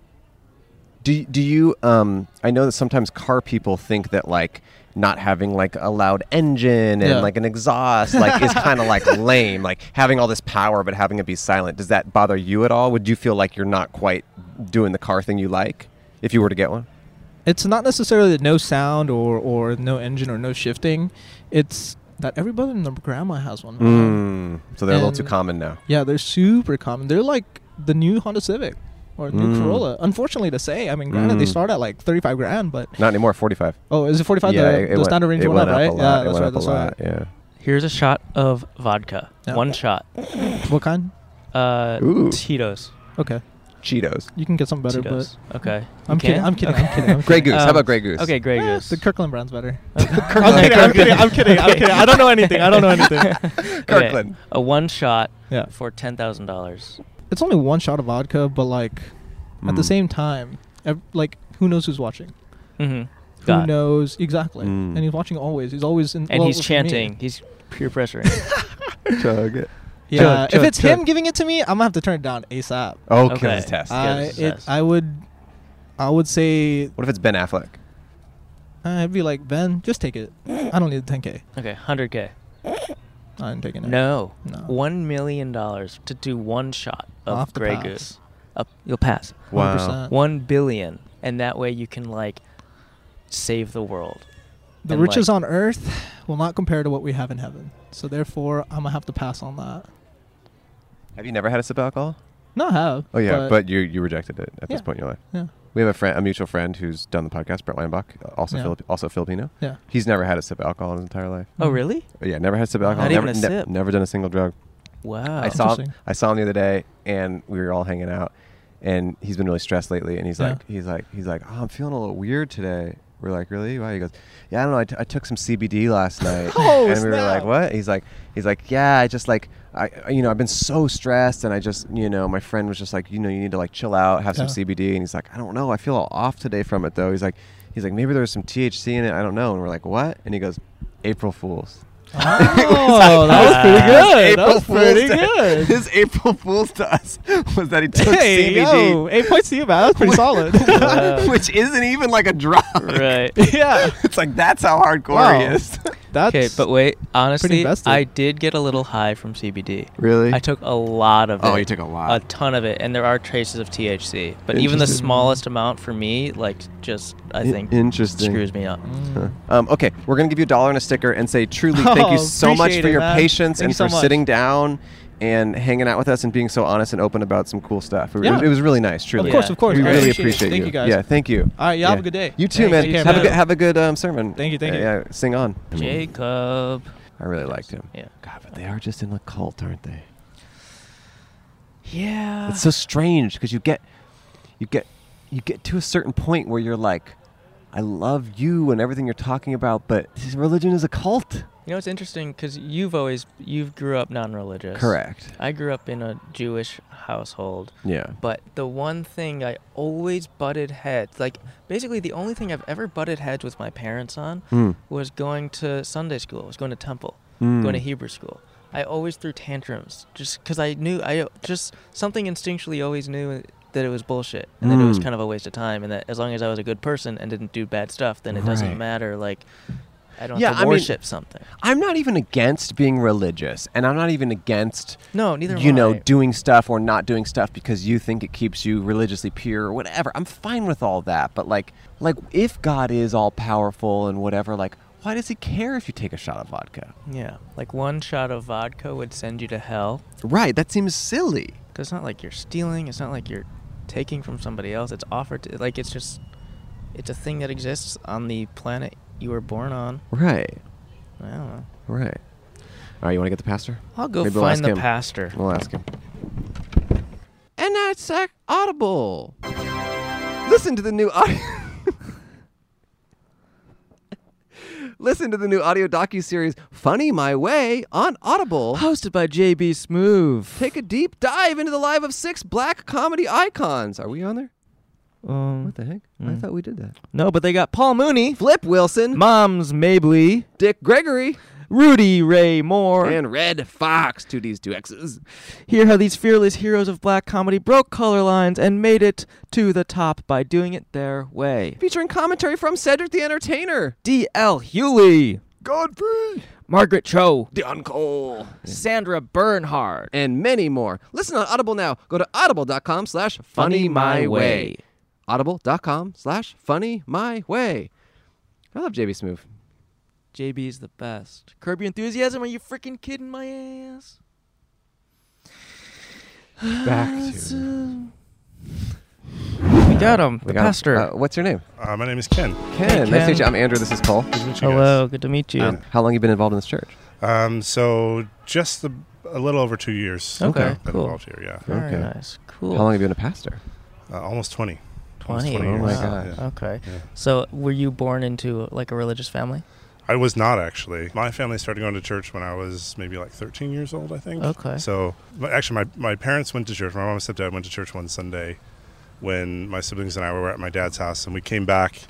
B: Do do you? Um, I know that sometimes car people think that like not having like a loud engine and
H: Yeah.
B: like an exhaust like is kind of like lame. Like having all this power but having it be silent. Does that bother you at all? Would you feel like you're not quite doing the car thing you like if you were to get one?
H: It's not necessarily no sound or, or no engine or no shifting. It's that everybody and their grandma has one. man.
B: Mm. So they're a little too
H: And-
B: common now.
H: Yeah, they're super common. They're like the new Honda Civic or new
B: Mm.
H: Corolla. Unfortunately to say, I mean, granted they
B: Mm.
H: start at like thirty-five grand, but
B: Not anymore. Forty-five.
H: oh, is it forty-five? the, the
B: went-
H: standard range
B: it
H: went, up, right?
B: a lot.
H: Yeah,
B: it
H: that's
B: went
H: right.
B: up
H: That's
B: a lot.
H: right.
B: Yeah.
E: Here's a shot of vodka.
H: Yeah.
E: One shot.
H: What kind?
E: Uh,
B: Ooh.
E: Tito's.
H: Okay,
B: Cheetos.
H: you can get something better,
E: Tito's. okay.
H: but I'm
E: You
H: kidding,
E: can?
H: I'm kidding. I'm
E: Okay.
H: kidding. I'm kidding.
B: Grey Goose. How
E: Um,
B: about Grey Goose?
E: Okay, Grey
H: Eh,
E: Goose.
H: The Kirkland brand's better.
E: Okay,
H: I'm kidding. I'm kidding. I'm kidding. I'm kidding. I don't know anything. I don't know anything.
E: Okay,
B: Kirkland.
E: A one shot
H: Yeah,
E: for ten thousand dollars.
H: it's only one shot of vodka, but like at the
B: Mm.
H: same time, ev- like who knows who's watching?
E: Mm-hmm.
H: Who
E: God.
H: knows exactly?
B: Mm.
H: And he's watching always. He's always in.
E: And
H: well,
E: he's
H: for me-
E: chanting. He's peer pressuring.
B: Chug it.
H: Yeah,
B: Chug,
H: if it's
B: chug,
H: him giving it to me, I'm gonna have to turn it down ASAP.
B: Oh,
E: Okay.
B: kills test.
E: Uh,
H: I
E: yes,
H: it,
E: yes.
H: I would, I would say
B: what if it's Ben Affleck?
H: I'd be like Ben, just take it. I don't need the 10k.
E: okay, hundred k.
H: I'm taking it.
E: No.
H: No.
E: One million dollars to do one shot of
H: I'll have to
E: Grey
H: pass.
E: Goose. Up, you'll pass.
H: 100%.
E: One billion, and that way you can like save the world.
H: The
E: and,
H: riches
E: like-
H: on earth will not compare to what we have in heaven. So therefore, I'm gonna have to pass on that.
B: Have you never had a sip of alcohol?
H: No, I have.
B: Oh yeah, but, you you rejected it at this
H: Yeah.
B: point in your life.
H: yeah,
B: We have a friend, a mutual friend who's done the podcast, Brett Weinbach, uh, also
H: Yeah.
B: Filip- also Filipino.
H: yeah.
B: He's never had a sip of alcohol in his entire life.
H: Mm-hmm.
E: Oh really?
B: Yeah, never had a sip of alcohol.
E: Not
B: never,
E: even a sip.
B: never done a single drug.
E: Wow.
B: I saw him,
H: Interesting.
B: I saw him the other day, and we were all hanging out, and he's been really stressed lately, and he's
H: Yeah.
B: like, he's like, he's like, oh, I'm feeling a little weird today. We're like, really? Why? He goes, yeah, I don't know. I, t- I took some CBD last night,
H: Oh,
B: and we were like,
H: snap.
B: what? He's like, he's like, yeah, I just like, I, I- you know, I've been so stressed, and I just, you know, my friend was just like, you know, you need to like chill out, have some
H: Yeah.
B: CBD, and he's like, I don't know, I feel all off today from it though. He's like, he's like, maybe there was some THC in it. I don't know. And we're like, what? And he goes, April Fools.
H: Oh, that was pretty good. That was pretty good.
B: His April Fool's to us was that he took
H: Hey,
B: CBD,
H: yo, eight points to you, man. That was pretty solid.
B: which isn't even like a drug.
E: Right.
H: yeah.
B: It's like that's how hardcore he
H: Wow.
B: is.
H: That's
E: Okay, but wait. Honestly,
H: invested.
E: I did get a little high from CBD.
B: Really?
E: I took a lot of it.
B: Oh, you took a lot.
E: A ton of it, and there are traces of THC. But even the
B: Interesting.
E: smallest amount for me, like, just I
B: In-
E: think
B: interesting.
E: screws me up.
B: Um, okay, we're gonna give you a dollar and a sticker and say truly thank
H: Oh,
B: you so much
H: appreciate
B: for
H: it,
B: your
H: man.
B: patience
H: Thank
B: and
H: you so
B: for
H: much.
B: sitting down and hanging out with us and being so honest and open about some cool stuff. It, was-
H: Yeah.
B: it was really nice, truly.
H: course, of course.
B: We
H: I
B: really
H: appreciate it.
B: appreciate
H: Thank
B: you.
H: you, guys.
B: Yeah, thank you.
H: All right, y'all have a good day.
B: You too,
H: Thanks.
B: man.
H: Take care,
B: have a
H: man.
B: good have a good um, sermon.
H: Thank you, thank
B: Uh,
H: you.
B: yeah, sing on. I mean,
E: Jacob.
B: I really liked him.
E: Yeah.
B: God, but they are just in a cult, aren't they?
E: Yeah.
B: It's so strange because you get, you get, you get to a certain point where you're like, I love you and everything you're talking about, but this religion is a cult.
E: You know, it's interesting because you've always you've grew up non-religious.
B: Correct.
E: I grew up in a Jewish household,
B: Yeah.
E: but the one thing I always butted heads, like basically the only thing I've ever butted heads with my parents on,
B: Mm.
E: was going to Sunday school, was going to temple,
B: Mm.
E: going to Hebrew school. I always threw tantrums just because I knew I just something instinctually always knew that it was bullshit and that it was
B: Mm.
E: kind of a waste of time and that as long as I was a good person and didn't do bad stuff, then it
B: Right.
E: doesn't matter. Like I don't
B: Yeah,
E: have
B: I
E: to
B: mean-
E: worship something.
B: I'm not even against being religious, and I'm not even against
E: No, neither.
B: you
E: am
B: know
E: I.
B: doing stuff or not doing stuff because you think it keeps you religiously pure or whatever i'm fine with all that but like like if god is all powerful and whatever like why does he care if you take a shot of vodka
E: Yeah, like one shot of vodka would send you to hell.
B: right that seems silly
E: 'Cause it's not like you're stealing. It's not like you're taking from somebody else. It's offered to. Like it's just, it's a thing that exists on the planet you were born on.
B: right
E: I don't know.
B: right all right you want to get the pastor
E: I'll go
B: Maybe we'll
E: find
B: ask
E: the
B: him.
E: pastor.
B: we'll ask him and that's uh, audible listen to the new audio Listen to the new audio docuseries Funny My Way on Audible.
A: Hosted by JB Smoove.
B: Take a deep dive into the life of six black comedy icons. Are we on there?
A: Um,
B: What the heck? Mm. I thought we did that.
A: no, but they got Paul Mooney,
B: Flip Wilson,
A: Moms Mabley,
B: Dick Gregory,
A: Rudy Ray Moore.
B: and Red Fox. Two D's, two X's.
A: Hear how these fearless heroes of black comedy broke color lines and made it to the top by doing it their way.
B: Featuring commentary from Cedric the Entertainer,
A: D.L. Hewley,
B: Godfrey,
A: Margaret Cho,
B: Dion Cole,
A: Sandra Bernhard.
B: and many more. Listen on Audible now. Go to audible.com slash funny
A: Funny
B: my
A: My
B: way.
A: Way.
B: Audible.com slash funny my way. I love JB Smoove.
A: JB's the best. Curb your enthusiasm. Are you freaking kidding my ass?
B: Back to.
A: We got him. The
B: got-
A: pastor.
B: uh, what's your name?
I: Uh, my name is Ken.
B: Ken. Nice to meet
A: Ken.
B: you. I'm Andrew. This is Paul.
I: Nice to meet you
E: Hello, good to meet you.
B: Um, how long you been involved in this church?
I: guys. Um, so just the, a little over two years.
E: Okay,
I: that I've been
E: cool.
I: involved here, yeah.
E: Very
B: okay.
E: nice. Cool.
B: How long have you been a pastor?
I: Uh, almost 20. Almost
E: 20.
B: Oh my
I: years,
B: gosh.
I: yeah.
E: Okay.
I: Yeah.
E: So, were you born into like a religious family?
I: I was not actually. My family started going to church when I was maybe like 13 years old, I think.
E: Okay.
I: So, but actually, my, my parents went to church. My mom and stepdad went to church one Sunday when my siblings and I were at my dad's house, and we came back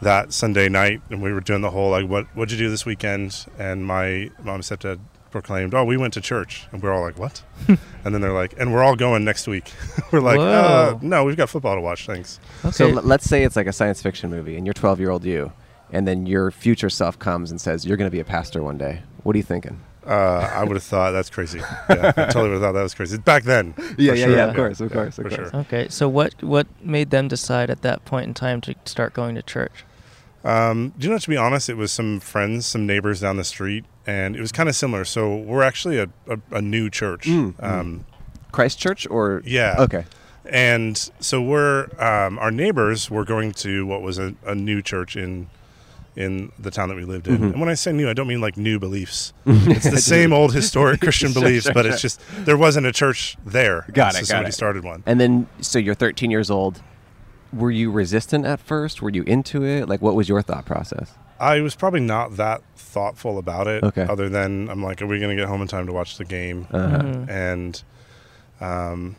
I: that Sunday night, and we were doing the whole like, "What what'd you do this weekend?" And my mom and stepdad proclaimed, "Oh, we went to church," and we are all like, "What?" and then they're like, "And we're all going next week." we're like, uh,
E: Whoa.
I: "No, we've got football to watch. Thanks."
E: Okay.
B: So l- let's say it's like a science fiction movie, and you're 12 year old you, and then your future self comes and says you're going to be a pastor one day. What are you thinking?
I: Uh, I would have thought that's crazy. Yeah, I totally would have thought that was crazy back then.
B: Yeah,
I: for
B: yeah,
I: sure.
B: yeah, of course, of course, of
I: for
B: course.
I: Sure.
E: okay. So, what what made them decide at that point in time to start going to church?
I: Um, do you know? To be honest, it was some friends, some neighbors down the street, and it was kind of similar. So we're actually a, a, a new church,
B: Mm,
I: um,
B: Christchurch or
I: Yeah.
B: Okay.
I: and so we're um, our neighbors were going to what was a, a new church in in the town that we lived in.
B: Mm-hmm.
I: And when I say new, I don't mean like new beliefs. It's the same old historic Christian beliefs, but it's just there wasn't a church there.
B: Got
I: So
B: it, got
I: somebody
B: it.
I: started one.
B: And then, so you're 13 years old. Were you resistant at first? Were you into it? Like, what was your thought process?
I: I was probably not that thoughtful about it.
B: Okay. Uh-huh.
I: Other than I'm like, are we going to get home in time to watch the game? And, um,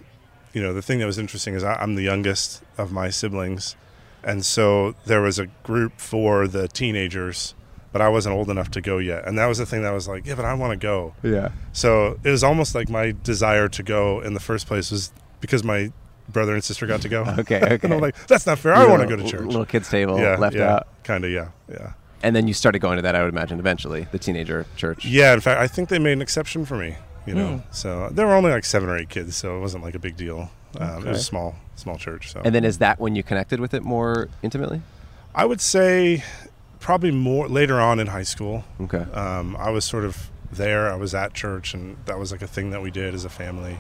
I: you know, the thing that was interesting is I, I'm the youngest of my siblings, and so there was a group for the teenagers, but I wasn't old enough to go yet. And that was the thing that was like, yeah, but I want to go.
B: Yeah.
I: So it was almost like my desire to go in the first place was because my brother and sister got to go.
B: Okay,
I: and
B: okay.
I: I'm like, that's not fair. I want to go to church.
B: Little kids' table
I: yeah.
B: left
I: yeah.
B: out.
I: Kind of. Yeah. Yeah.
B: And then you started going to that, I would imagine, eventually, the teenager church. Hmm.
I: Yeah, in fact, I think they made an exception for me. You know, so there were only like seven or eight kids, so it wasn't like a big deal. Um, It was a small, small church. So
B: And then, is that when you connected with it more intimately?
I: I would say probably more later on in high school.
B: Okay.
I: Um, I was sort of there. I was at church, and that was like a thing that we did as a family.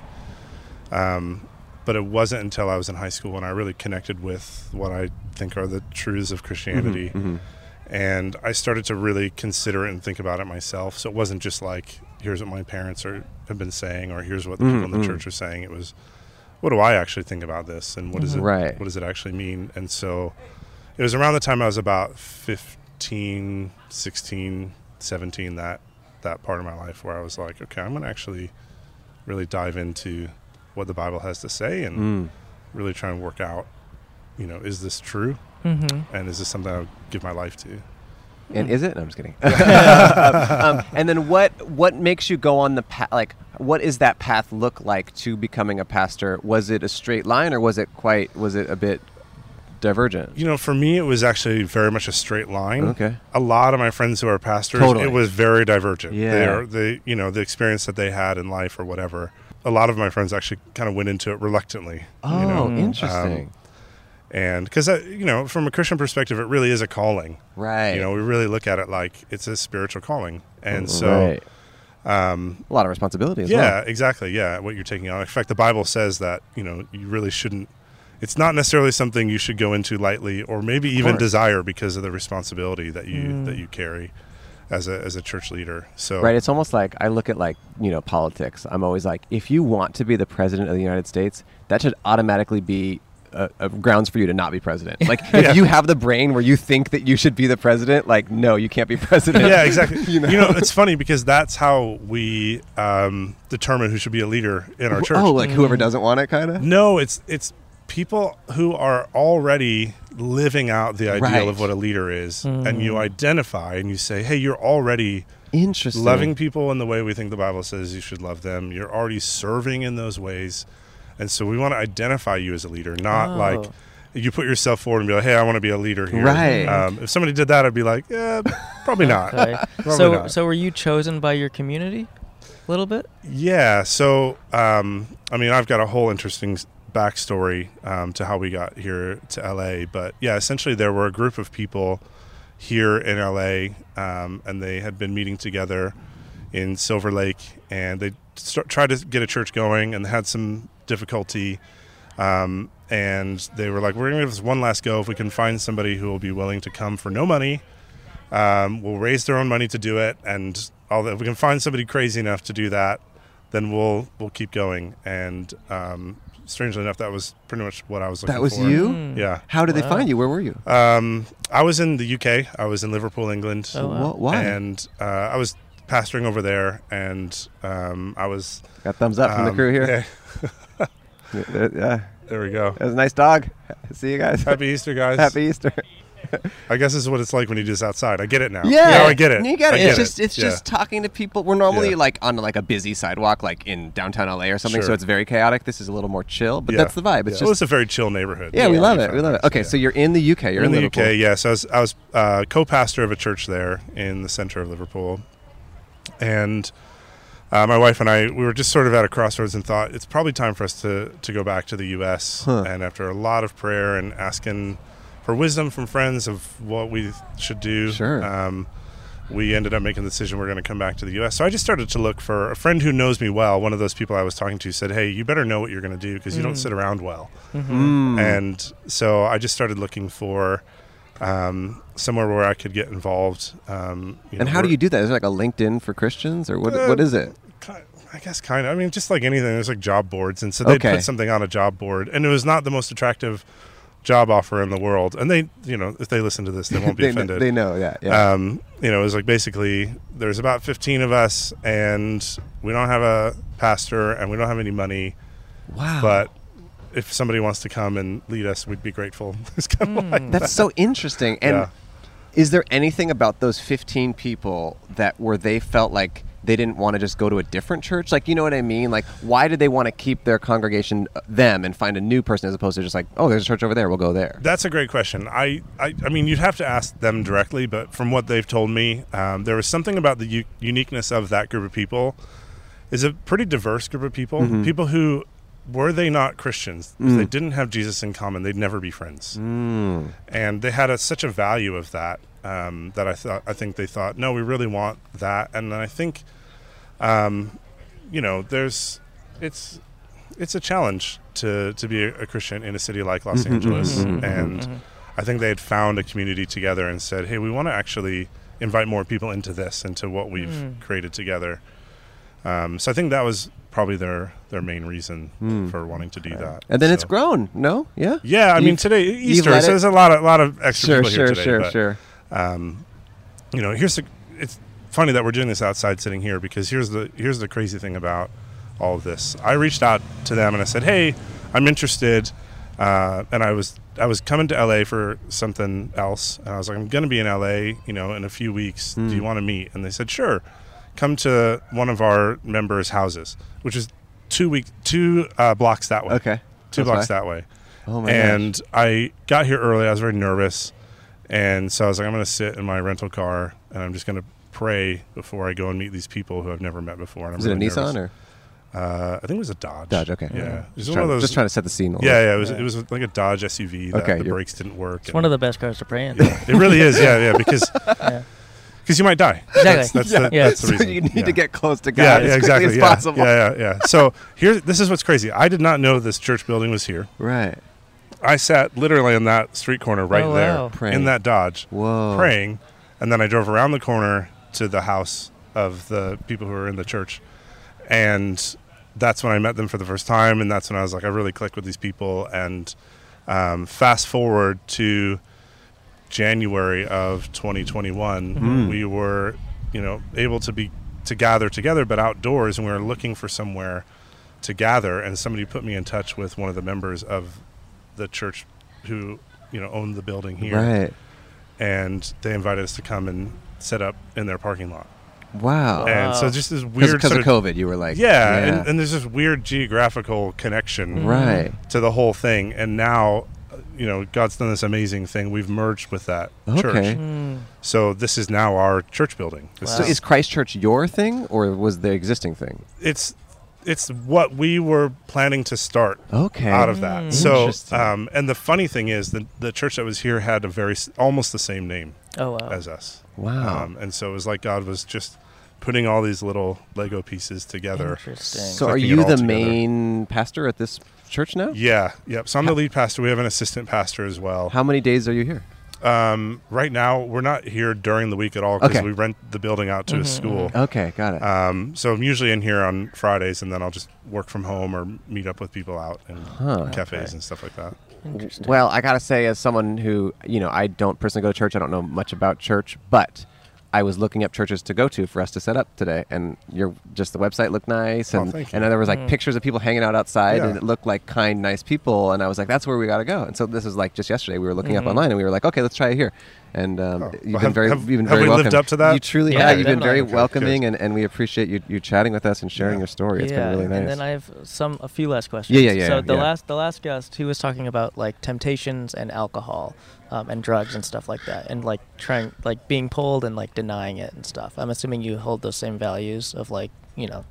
I: Um, but it wasn't until I was in high school when I really connected with what I think are the truths of Christianity. And I started to really consider it and think about it myself. So it wasn't just like, here's what my parents are, have been saying, or here's what the people in the church are saying. It was, what do I actually think about this, and what does it,
B: Right.
I: what does it actually mean? And so, it was around the time I was about 15, 16, 17, that, that part of my life where I was like, okay, I'm going to actually really dive into what the Bible has to say and really try and work out, you know, is this true? Mm-hmm. And is this something I would give my life to?
B: And is it? No, I'm just kidding. um, and then what what makes you go on the path? Like, what does that path look like to becoming a pastor? Was it a straight line, or was it quite? Was it a bit divergent?
I: You know, for me, it was actually very much a straight line.
B: Okay.
I: A lot of my friends who are pastors,
B: Totally.
I: it was very divergent.
B: Yeah.
I: They are, they, you know, the experience that they had in life or whatever. A lot of my friends actually kind of went into it reluctantly.
B: Oh,
I: you know?
B: interesting.
I: um, and because you know from a christian perspective it really is a calling
B: right.
I: you know we really look at it like it's a spiritual calling and so
B: right. Um, a lot of responsibility. As
I: yeah exactly yeah what you're taking on in fact the bible says that you know you really shouldn't it's not necessarily something you should go into lightly or maybe even
B: course.
I: desire because of the responsibility that you that you carry as a as a church leader so
B: well. Right. It's almost like I look at like you know politics. I'm always like, if you want to be the president of the United States, that should automatically be a, a grounds for you to not be president. Like if you have the brain where you think that you should be the president, like no, you can't be president.
I: yeah, exactly.
B: You know?
I: it's funny because that's how we um, determine who should be a leader in our church.
B: Oh, like whoever doesn't want it, kind of.
I: no, it's it's people who are already living out the ideal
B: Right. Hmm.
I: of what a leader is, and you identify and you say, "Hey, you're already
B: Interesting.
I: loving people in the way we think the Bible says you should love them. You're already serving in those ways. And so we want to identify you as a leader, not
E: Oh.
I: like you put yourself forward and be like, hey, I want to be a leader here.
B: Right.
I: Um, if somebody did that, I'd be like, yeah, probably not.
E: Okay.
I: Probably
E: so
I: not.
E: so were you chosen by your community a little bit?
I: Yeah. So, um, I mean, I've got a whole interesting s- backstory um, to how we got here to LA. But yeah, essentially, there were a group of people here in LA, um, and they had been meeting together in Silver Lake, and they start, tried to get a church going, and had some difficulty. Um, and they were like, "We're gonna give this one last go. If we can find somebody who will be willing to come for no money." um, will raise their own money to do it, and all that. If we can find somebody crazy enough to do that, then we'll we'll keep going. And um, strangely enough, that was pretty much what I was looking
B: That was
I: for.
B: you.
I: Mm. Yeah.
B: How did they find you? Where were you?
I: Um, I was in the UK. I was in Liverpool, England.
E: Oh, wow.
B: Wha- why?
I: And uh, I was pastoring over there, and um, I was
B: Got thumbs up from the
I: um,
B: crew here.
I: yeah,
B: Yeah. yeah.
I: there we go.
B: That was a nice dog. See you guys.
I: Happy Easter, guys.
B: Happy E- Easter.
I: I guess this is what it's like when you do this outside. I get it now.
B: Yeah,
I: Now I get it.
B: You get
I: I
B: it.
I: get
B: it's just it's
I: Yeah.
B: just talking to people. We're normally
I: Yeah.
B: like on like a busy sidewalk, like in downtown LA or something. So
I: Sure.
B: it's very chaotic. This is a little more chill, but
I: Yeah.
B: that's the vibe. It's
I: Yeah. Well,
B: just
I: it's a very chill neighborhood.
B: yeah, we
I: Yeah.
B: love it. We love it. Okay,
I: Yeah.
B: so you're in the UK. You're
I: in the
B: Liverpool.
I: UK, yeah. So I was, I was uh, co-pastor of a church there in the center of Liverpool, and uh, my wife and I we were just sort of at a crossroads and thought it's probably time for us to to go back to the U.S.
B: Huh.
I: And after a lot of prayer and asking for wisdom from friends of what we should do,
B: Sure.
I: um, we ended up making the decision we're going to come back to the U.S. So I just started to look for a friend who knows me well. One of those people I was talking to said, "Hey, you better know what you're going to do because you
B: Mm.
I: don't sit around well." Mm-hmm.
B: Mm-hmm.
I: And so I just started looking for um, somewhere where I could get involved. Um, you
B: And
I: know,
B: how do
I: where-
B: you do that? Is it like a LinkedIn for Christians or what?
I: Uh,
B: what is it?
I: ki- I guess kind of. I mean, just like anything, there's like job boards, and so they
B: Okay.
I: put something on a job board, and it was not the most attractive job offer in the world. And they, you know, if they listen to this, they won't be
B: they, kn-
I: offended.
B: they know. Yeah. Yeah.
I: Um, you know, it was like basically there's about 15 of us, and we don't have a pastor, and we don't have any money,
B: wow.
I: but if somebody wants to come and lead us, we'd be grateful. it's kind of like
B: That's so interesting. And
I: Yeah.
B: is there anything about those 15 people that where they felt like they didn't want to just go to a different church? Like, you know what I mean? Like, why did they want to keep their congregation uh, them and find a new person as opposed to just like, oh, there's a church over there, we'll go there?
I: That's a great question. I, I, I mean, you'd have to ask them directly, but from what they've told me, um, there was something about the u- uniqueness of that group of people. Is a pretty diverse group of people. People who, were they not Christians, if they didn't have Jesus in common, they'd never be friends. And they had a, such a value of that um, that I thought I think they thought, no, we really want that. And then I think, um, you know, there's it's it's a challenge to to be a, a Christian in a city like
B: Mm-hmm,
I: Los Angeles, and I think they had found a community together and said, "Hey, we want to actually invite more people into this, into what we've created together." Um, so I think that was probably their their main reason for wanting to do that.
B: Mm. And then it's
I: So-
B: grown. No? Yeah.
I: Yeah, I mean
B: You've-
I: today Easter,
B: let
I: so
B: it-
I: there's a lot of lot of extra
B: Sure,
I: people
B: sure,
I: here today.
B: sure,
I: but,
B: sure.
I: Um, you know, here's the. It's funny that we're doing this outside, sitting here, because here's the here's the crazy thing about all of this. I reached out to them and I said, "Hey, I'm interested," uh, and I was I was coming to LA for something else, and I was like, "I'm going to be in LA, you know, in a few weeks. Do
B: Hmm.
I: you want to meet?" And they said, "Sure." Come to one of our members' houses, which is two week two uh, blocks that way.
B: Okay.
I: two
B: That's
I: blocks
B: fine.
I: that way
B: Oh, my
I: and I got here early. I was very nervous, and so I was like, I'm going to sit in my rental car and I'm just going to pray before I go and meet these people who I've never met before. And I'm
B: Is it a
I: really
B: Nissan
I: nervous.
B: or
I: Uh, I think it was a Dodge.
B: Dodge? Okay.
I: Yeah,
B: Okay.
I: It was
B: Just,
I: one
B: trying,
I: of those.
B: just trying to set the scene. A little.
I: yeah, yeah. It was it was like a Dodge SUV. That
B: Okay,
I: the
B: you're-
I: brakes didn't work.
E: It's one of the best cars to pray in.
I: It really is. Yeah, yeah. Because because you might die. That's,
E: Exactly.
I: that's, the,
E: Yeah.
I: that's the
B: So
I: reason.
B: you need
I: Yeah
B: to get close to God as quickly as
I: yeah,
B: possible.
I: Yeah, yeah, yeah. So here, this is what's crazy. I did not know this church building was here.
B: Right.
I: I sat literally on that street corner right
E: Oh,
I: there
E: wow.
B: Praying.
I: in that Dodge
B: Whoa.
I: praying. And then I drove around the corner to the house of the people who were in the church. And that's when I met them for the first time. And that's when I was like, I really clicked with these people. And Um, fast forward to January of 2021,
B: Mhm.
I: we were, you know, able to be to gather together, but outdoors, and we were looking for somewhere to gather. And somebody put me in touch with one of the members of the church who, you know, owned the building here,
B: Right.
I: and they invited us to come and set up in their parking lot.
B: Wow.
I: And so
E: Wow.
I: just this weird
B: Because
I: sort
B: of COVID, you were like,
I: yeah, And, and there's this weird geographical connection
B: Mm. right.
I: to the whole thing. And now, uh, you know, God's done this amazing thing. We've merged with that
B: Okay. Mm.
I: church. So this is now our church building. This
B: So
I: is-
B: is Christchurch your thing or was the existing thing?
I: it's it's what we were planning to start
B: Okay. Mm.
I: out of that. So,
B: Interesting.
I: um, and the funny thing is that the church that was here had a very s- almost the same name
E: Oh wow.
I: as us.
B: wow.
I: Um, and so it was like God was just putting all these little Lego pieces together.
E: Interesting.
B: so are
I: clicking it
B: you
I: all
B: the
I: together.
B: main pastor at this church now?
I: Yeah, yep. So I'm the lead pastor. We have an assistant pastor as well.
B: How many days are you here?
I: Um, right now, we're not here during the week at all because
B: Okay.
I: we rent the building out
E: Mm-hmm,
I: to a school.
B: Okay, got it.
I: Um, so I'm usually in here on Fridays, and then I'll just work from home or meet up with people out in
B: Huh.
I: cafes and stuff like that.
E: Interesting.
B: Well, I gotta say, as someone who you know, I don't personally go to church. I don't know much about church, but I was looking up churches to go to for us to set up today, and your just the website looked nice,
I: Oh,
B: and
I: thank you.
B: and there was
E: Mm.
B: like pictures of people hanging out outside,
I: Yeah.
B: and it looked like kind, nice people, and I was like, that's where we gotta go. And so this is like just yesterday, we were looking
E: Mm-hmm.
B: up online, and we were like, okay, let's try it here. And um,
I: Oh.
B: you've
I: Well,
B: been
I: have-
B: very,
I: have-
B: you've been
I: have
B: very
I: we lived
B: welcome.
I: up to that?
B: You truly
E: Yeah,
B: have. You've been very
E: definitely.
B: welcoming, and, and we appreciate you you chatting with us and sharing
I: Yeah.
B: your story. It's been
E: yeah,
B: really nice.
E: and then I have some a few last questions.
B: Yeah, yeah, yeah,
E: So the
B: yeah.
E: last the last guest, he was talking about like temptations and alcohol, um, and drugs and stuff like that, and like trying like being pulled and like denying it and stuff. I'm assuming you hold those same values of like you know,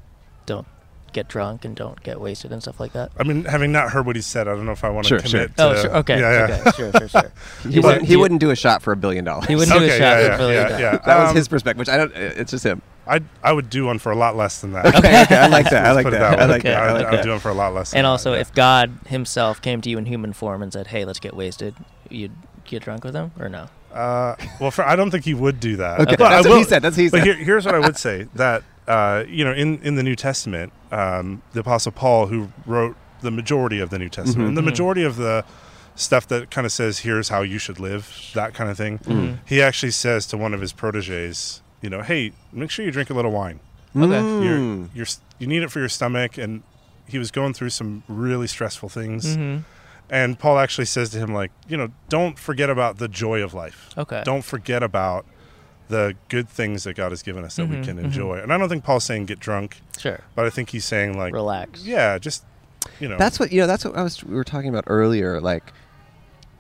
E: don't get drunk and don't get wasted and stuff like that.
I: I mean, having not heard what he said, I don't know if I want
B: Sure,
I: to commit.
B: sure.
E: Oh,
I: to-
E: sure. Okay.
I: Yeah, yeah.
E: Okay. Sure. Sure. Sure.
B: he,
E: Is
B: wouldn't,
E: it-
B: he
E: you-
B: wouldn't do a shot for a billion dollars.
E: He wouldn't do a
I: Okay,
E: shot.
I: yeah,
E: He'd
I: yeah,
E: really
I: yeah,
E: do-
I: yeah.
B: That was
I: Um,
B: his perspective, which I don't. It's just him.
I: I I would do one for a lot less than that.
B: Okay, okay, I like that. I
I: Let's
B: like
I: put it
B: that. I
I: way.
B: like that. I
I: I'd-
B: like
I: I'd
B: that.
I: do one for a lot less. than
E: And
I: that,
E: also,
I: yeah.
E: if God Himself came to you in human form and said, "Hey, let's get wasted," you'd get drunk with Him or no?
I: Uh, well, for, I don't think he would do that.
B: Okay,
I: But I
B: that's what
I: will-
B: he said. That's what he
I: But
B: said.
I: here, here's what I would say that uh, you know in in the New Testament, um, the Apostle Paul, who wrote the majority of the New Testament,
B: Mm-hmm.
I: and the majority of the stuff that kind of says here's how you should live, that kind of thing,
B: Mm-hmm.
I: he actually says to one of his proteges, you know, hey, make sure you drink a little wine.
B: Mm.
E: Hmm.
I: You're, you're s- you need it for your stomach, and he was going through some really stressful things.
E: Mm-hmm.
I: And Paul actually says to him, like, you know, don't forget about the joy of life
E: Okay.
I: don't forget about the good things that God has given us that
E: Mm-hmm.
I: we can enjoy. And I don't think Paul's saying get drunk,
E: Sure.
I: but I think he's saying like
E: Relax.
I: Yeah, just you know.
B: That's what you know. That's what I was. We were talking about earlier. Like,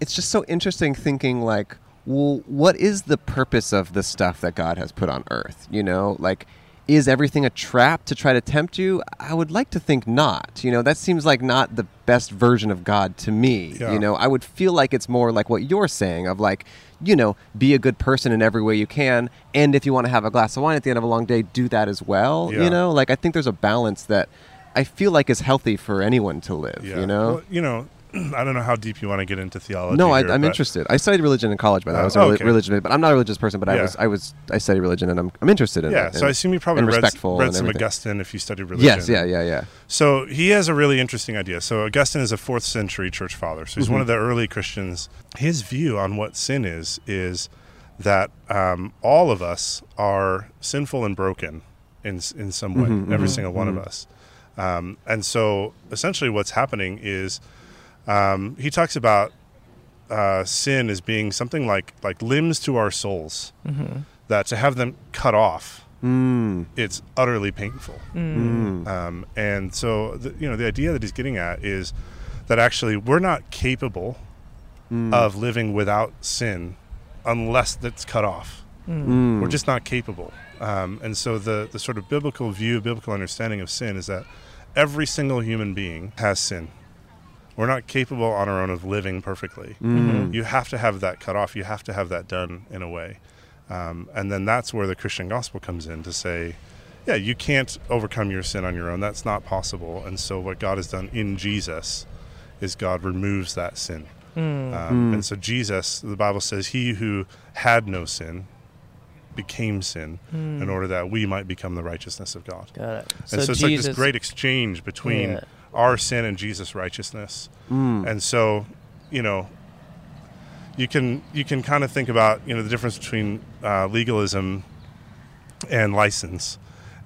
B: it's just so interesting thinking like, well, what is the purpose of the stuff that God has put on Earth? You know, like, is everything a trap to try to tempt you? I would like to think not. You know, that seems like not the best version of God to me.
I: Yeah.
B: You know, I would feel like it's more like what you're saying of like, you know, be a good person in every way you can, and if you want to have a glass of wine at the end of a long day, do that as well.
I: Yeah.
B: You know, like I think there's a balance that I feel like is healthy for anyone to live.
I: yeah.
B: You know.
I: Well, you know, I don't know how deep you want to get into theology.
B: no, I,
I: here,
B: I'm
I: but-
B: interested. I studied religion in college, but
I: Oh,
B: I was a reli-
I: okay.
B: religion, but I'm not a religious person. But I
I: Yeah.
B: was, I was, I studied religion, and I'm, I'm interested in it.
I: Yeah, so I
B: and-
I: assume you probably
B: and
I: read,
B: respectful
I: read
B: and
I: some
B: everything.
I: Augustine if you studied religion.
B: Yes, yeah, yeah, yeah.
I: So he has a really interesting idea. So Augustine is a fourth century church father. So he's one of the early Christians. His view on what sin is is that um, all of us are sinful and broken in s- in some way. Every single one of us. Um, and so essentially, what's happening is um, he talks about uh, sin as being something like like limbs to our souls. That to have them cut off, it's utterly painful. Um, and so, the, you know, the idea that he's getting at is that actually we're not capable of living without sin unless that's cut off. We're just not capable. Um, and so, the, the sort of biblical view, biblical understanding of sin is that every single human being has sin. We're not capable on our own of living perfectly. You have to have that cut off. You have to have that done in a way. Um, and then that's where the Christian gospel comes in to say, yeah, you can't overcome your sin on your own. That's not possible. And so, what God has done in Jesus is God removes that sin. Um, And so, Jesus, the Bible says, he who had no sin became sin in order that we might become the righteousness of God.
E: Got it.
I: And so, it's like this great exchange between
E: Yeah.
I: our sin and Jesus' righteousness. And so, you know, you can you can kind of think about you know the difference between uh, legalism and license.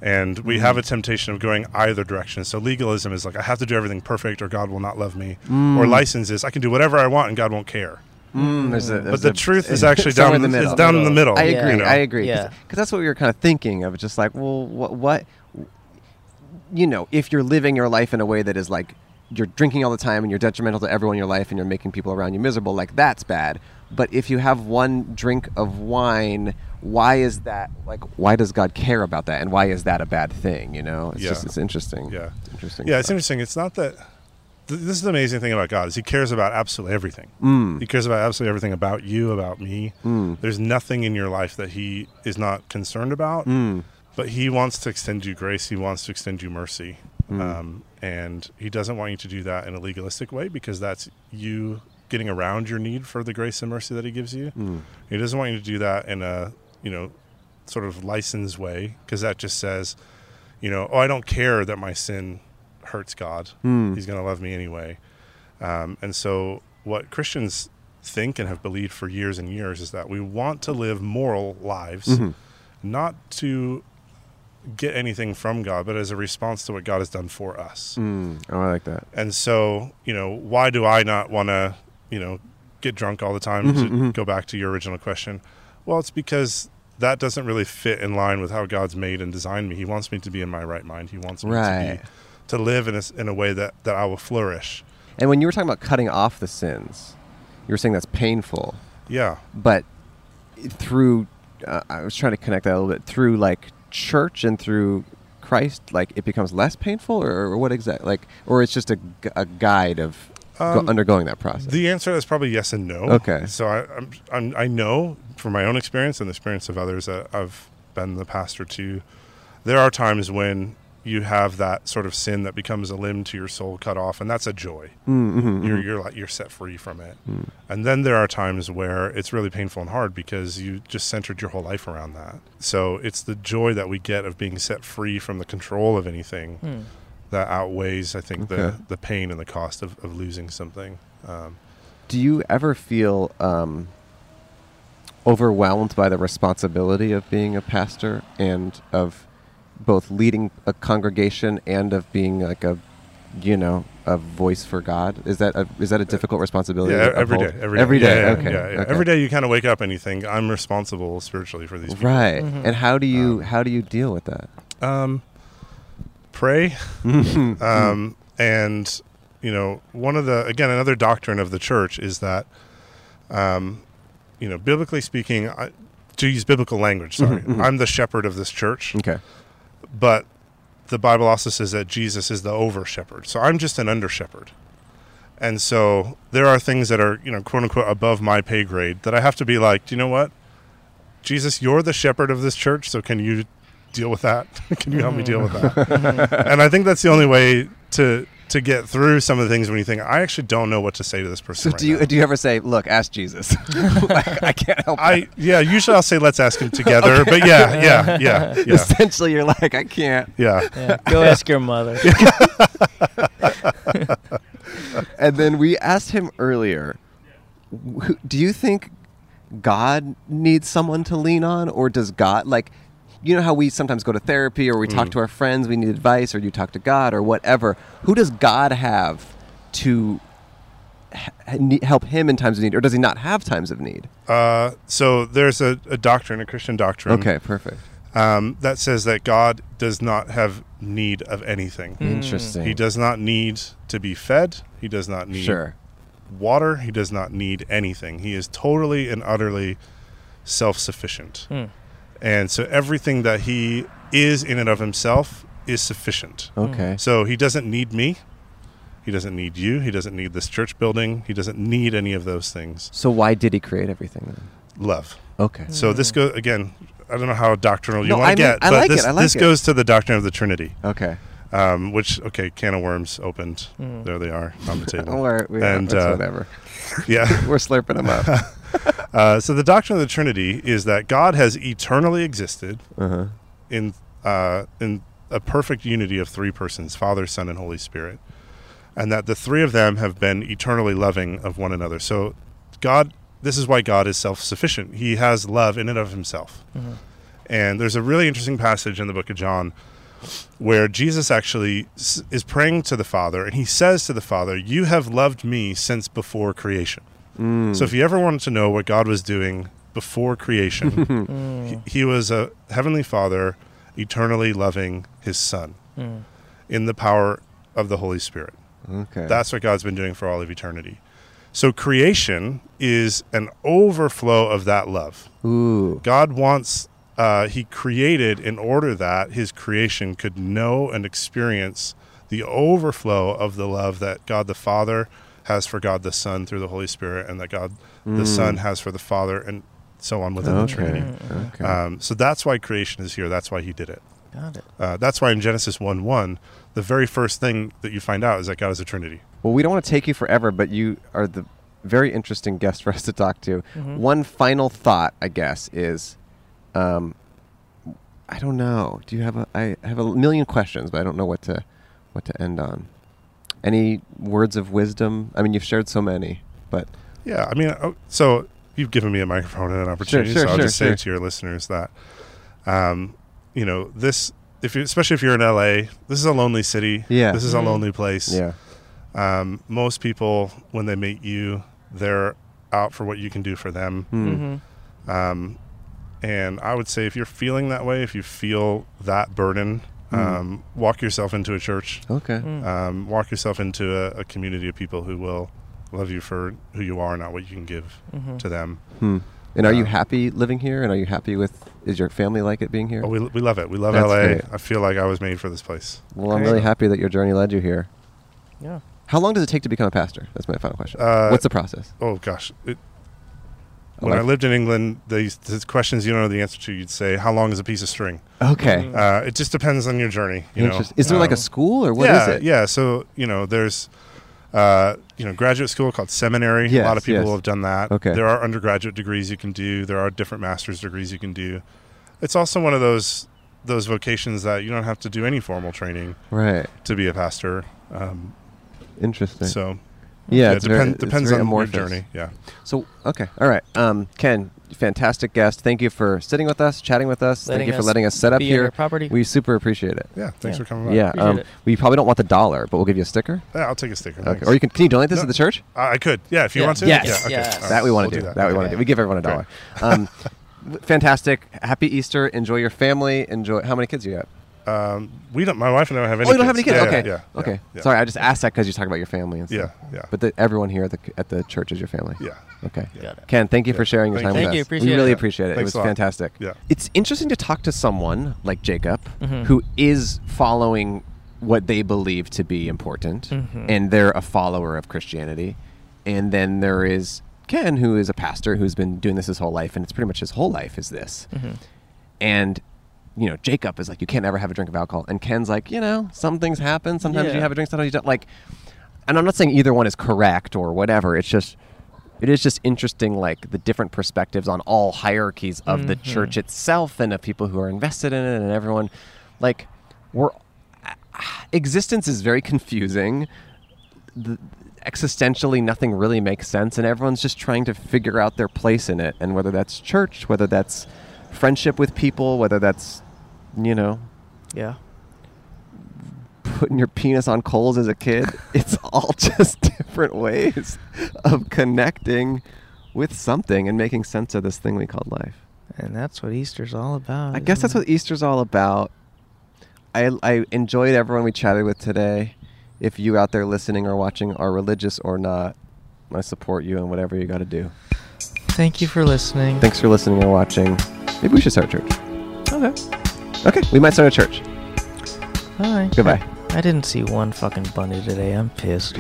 I: And we have a temptation of going either direction. So legalism is like I have to do everything perfect, or God will not love me. Or license is I can do whatever I want and God won't care.
B: Mm, there's a,
I: But
B: there's
I: the
B: a-
I: truth is
B: it's
I: actually
B: somewhere
I: down
B: in the
I: it's
B: middle.
I: down in the middle.
B: I
I: you
B: agree.
I: know.
B: I agree. Because
E: Yeah.
B: that's what we were kind of thinking of, just like, well, what, what, you know, if you're living your life in a way that is like you're drinking all the time and you're detrimental to everyone in your life and you're making people around you miserable, like that's bad. But if you have one drink of wine, why is that like? Why does God care about that? And why is that a bad thing? You know, it's
I: Yeah.
B: just it's interesting.
I: Yeah.
B: It's interesting.
I: Yeah, it's
B: stuff.
I: interesting. It's not that. th- This is the amazing thing about God is He cares about absolutely everything.
B: Mm.
I: He cares about absolutely everything about you, about me. There's nothing in your life that He is not concerned about.
B: Mm.
I: But He wants to extend you grace. He wants to extend you mercy,
B: Mm.
I: um, and He doesn't want you to do that in a legalistic way because that's you getting around your need for the grace and mercy that He gives you.
B: Mm.
I: He doesn't want you to do that in a you know sort of license way because that just says you know, oh, I don't care that my sin hurts God. He's going to love me anyway. Um, and so, what Christians think and have believed for years and years is that we want to live moral lives, not to get anything from God, but as a response to what God has done for us.
B: Oh, I like that.
I: And so, you know, why do I not want to, you know, get drunk all the time to go back to your original question? Well, it's because that doesn't really fit in line with how God's made and designed me. He wants me to be in my right mind. He wants me to
B: Right.
I: be to live in a, s- in a way that that I will flourish.
B: And when you were talking about cutting off the sins, you were saying that's painful.
I: Yeah.
B: but through uh, i was trying to connect that a little bit through like church and through christ like it becomes less painful or, or what exactly like or it's just a, gu- a guide of go-
I: Um,
B: undergoing that process
I: The answer is probably yes and no.
B: Okay.
I: So I, I'm, I'm, I know from my own experience and the experience of others that I've been the pastor to, there are times when you have that sort of sin that becomes a limb to your soul cut off, and that's a joy. Mm-hmm, you're, you're like you're set free from it. And then there are times where it's really painful and hard because you just centered your whole life around that. So it's the joy that we get of being set free from the control of anything.
E: Hmm.
I: That outweighs, I think,
B: Okay.
I: the, the pain and the cost of, of losing something. Um,
B: do you ever feel um, overwhelmed by the responsibility of being a pastor and of both leading a congregation and of being like a you know a voice for God is that a, is that a difficult responsibility?
I: Yeah, e-,
B: to
I: every
B: uphold?
I: day, every day,
B: every day.
I: Yeah, yeah,
B: okay,
I: yeah, yeah.
B: okay.
I: Every day you kind of wake up and you think, I'm responsible spiritually for these. People.
B: Right. And how do you how do you deal with that?
I: Um, pray,
B: Mm-hmm.
I: um, and you know, one of the again another doctrine of the church is that, um, you know, biblically speaking, I, to use biblical language, sorry, I'm the shepherd of this church,
B: Mm-hmm, Okay.
I: but the Bible also says that Jesus is the over shepherd. So I'm just an under shepherd. And so there are things that are, you know, quote unquote above my pay grade that I have to be like, do you know what? Jesus, you're the shepherd of this church, so can you deal with that? can you help me deal with
B: Mm.
I: that? and I think that's the only way to to get through some of the things when you think, I actually don't know what to say to this
B: So
I: person. right
B: do you
I: now."
B: do you ever say, "Look, ask Jesus"? like, I can't help.
I: I yeah, usually I'll say let's ask him together. But yeah, yeah, yeah, yeah.
B: Essentially, you're like, I can't.
I: Yeah.
E: Yeah, go ask your mother.
B: And then we asked him earlier, wh- do you think God needs someone to lean on, or does God like? You know how we sometimes go to therapy, or we
I: Mm.
B: talk to our friends, we need advice, or you talk to God, or whatever. Who does God have to h- ne- help him in times of need, or does he not have times of need?
I: Uh, so there's a, a doctrine, a Christian doctrine,
B: Okay, perfect.
I: um, that says that God does not have need of anything.
B: Hmm. Interesting.
I: He does not need to be fed. He does not need
B: Sure.
I: water. He does not need anything. He is totally and utterly self-sufficient, and so everything that he is in and of himself is sufficient.
B: Okay.
I: So he doesn't need me. He doesn't need you. He doesn't need this church building. He doesn't need any of those things.
B: So why did he create everything then?
I: Love.
B: Okay.
I: So this goes again. I don't know how doctrinal you
B: Mm. No,
I: want
B: I
I: to
B: mean-
I: get,
B: I
I: but
B: like it,
I: this,
B: I like
I: this
B: it.
I: goes to the doctrine of the Trinity,
B: Okay.
I: um, which okay, can of worms opened. There they are on the table.
B: Mm. Or we
I: And,
B: it's
I: uh,
B: whatever.
I: Yeah.
B: We're slurping him up.
I: Uh, so the doctrine of the Trinity is that God has eternally existed in uh, in a perfect unity of three persons: Father, Son, and Holy Spirit. and that the three of them have been eternally loving of one another. So, God, this is why God is self sufficient. He has love in and of himself. And there's a really interesting passage in the book of John where Jesus actually s- is praying to the Father and he says to the Father, You have loved me since before creation. So, if you ever wanted to know what God was doing before creation, he, he was a heavenly Father eternally loving his Son in the power of the Holy Spirit.
B: Okay.
I: That's what God's been doing for all of eternity. So creation is an overflow of that love.
B: Ooh.
I: God wants, uh, He created in order that His creation could know and experience the overflow of the love that God the Father has for God the Son through the Holy Spirit, and that God the Son has for the Father, and so on within the Trinity.
B: Okay. Okay.
I: Um, so that's why creation is here. That's why He did it.
E: Got it.
I: Uh, that's why in Genesis 1 1, the very first thing that you find out is that God is a Trinity.
B: Well, we don't want to take you forever, but you are the very interesting guest for us to talk to.
I: Mm-hmm.
B: One final thought, I guess, is um, I don't know. Do you have a? I have a million questions, but I don't know what to what to end on. Any words of wisdom? I mean, you've shared so many, but
I: Yeah, I mean, uh, so you've given me a microphone and an opportunity,
B: sure,
I: so I'll
B: sure,
I: just
B: sure.
I: say to your listeners that, um, you know, this if you, especially if you're in LA, this is a lonely city.
B: Yeah.
I: this is a lonely place.
B: yeah,
I: Um, most people, when they meet you, they're out for what you can do for them.
B: Hmm.
I: Um, and I would say if you're feeling that way, if you feel that burden,
B: Hmm.
I: um, walk yourself into a church.
B: okay,
I: Um, walk yourself into a, a community of people who will love you for who you are, not what you can give to them.
B: Hmm. And
I: Uh,
B: are you happy living here? And are you happy with? Is your family like it being here?
I: But we, we love it. We love
B: That's
I: LA.
B: great.
I: I feel like I was made for this place.
B: Well, I'm really happy that your journey led you here.
E: Yeah.
B: How long does it take to become a pastor? That's my final question.
I: Uh,
B: What's the process?
I: Oh gosh. It,
B: A
I: when I
B: life-
I: lived in England, these these questions you don't know the answer to, you'd say, "How long is a piece of string?"
B: Okay.
E: Mm-hmm.
I: Uh, it just depends on your journey. You know,
B: Interest- Oh. is there like a
I: Um,
B: school or what is
I: yeah,
B: it?
I: Yeah, so you know, there's uh, you know graduate school called seminary. a lot of
B: Yes,
I: people
B: yes.
I: have done that.
B: Okay.
I: there are undergraduate degrees you can do. There are different master's degrees you can do. It's also one of those those vocations that you don't have to do any formal training
B: Right.
I: to be a pastor. Um,
B: Interesting.
I: so
B: yeah,
I: yeah,
B: it's
I: depen-
B: very- it's
I: depends
B: very
I: on
B: amorphous.
I: your journey. Yeah,
B: So okay, all right. Um, Ken, fantastic guest. Thank you for sitting with us, chatting with us.
E: Letting
B: Thank you for
E: us
B: letting us set up
E: be on your
B: here.
E: property.
B: We super appreciate it.
I: yeah. Thanks
E: Yeah.
I: for coming. by.
B: Yeah.
E: Appreciate
B: Um,
E: it.
B: we probably don't want the dollar, but we'll give you a sticker.
I: yeah. I'll take a sticker.
B: Okay.
I: thanks.
B: Or you can can you donate this
I: No.
B: to the church?
I: I I could. Yeah, if you
E: Yeah.
I: want to.
E: Yes.
I: Yeah, okay.
E: Yes.
I: All right,
B: that we want to
I: we'll
B: do. That we want to do. We give everyone a dollar. Um, w- fantastic. Happy Easter. Enjoy your family. Enjoy. How many kids you got?
I: Um, we don't. My wife and I don't have any.
B: oh, you don't have any kids.
I: Yeah,
B: okay.
I: Yeah. yeah,
B: okay.
I: yeah.
B: Sorry, I just asked that because you talk about your family and
I: Yeah.
B: stuff.
I: Yeah.
B: But the, everyone here at the at the church is your family.
I: Yeah.
B: Okay.
E: Got it.
B: Ken, thank you for sharing your
I: Thank
B: time
I: you.
B: with
E: Thank you,
B: us.
E: appreciate
B: we really
E: it.
B: appreciate it.
I: Thanks
B: it
I: a
B: was
I: lot.
B: fantastic.
I: Yeah.
B: It's interesting to talk to someone like Jacob
E: Mm-hmm.
B: who is following what they believe to be important
E: Mm-hmm.
B: and they're a follower of Christianity. And then there is Ken who is a pastor who's been doing this his whole life and it's pretty much his whole life is this.
E: Mm-hmm.
B: And you know, Jacob is like, you can't ever have a drink of alcohol. And Ken's like, you know, some things happen. Sometimes
A: Yeah.
B: you have a drink, sometimes you don't. Like, and I'm not saying either one is correct or whatever. It's just, it is just interesting, like the different perspectives on all hierarchies of the church itself and of people who are invested in it and everyone. Like, we're existence is very confusing. The, existentially, nothing really makes sense, and everyone's just trying to figure out their place in it, and whether that's church, whether that's friendship with people, whether that's you know
E: Yeah.
B: putting your penis on coals as a kid. it's all just different ways of connecting with something and making sense of this thing we call life.
E: And that's what Easter's all about.
B: I guess that's what Easter's all about. I, I enjoyed everyone we chatted with today. If you out there listening or watching are religious or not, I support you in whatever you got to do.
E: Thank you for listening.
B: Thanks for listening or watching. Maybe we should start a church.
E: Okay.
B: Okay, we might start a church.
E: Bye.
B: Goodbye.
E: I didn't see one fucking bunny today. I'm pissed.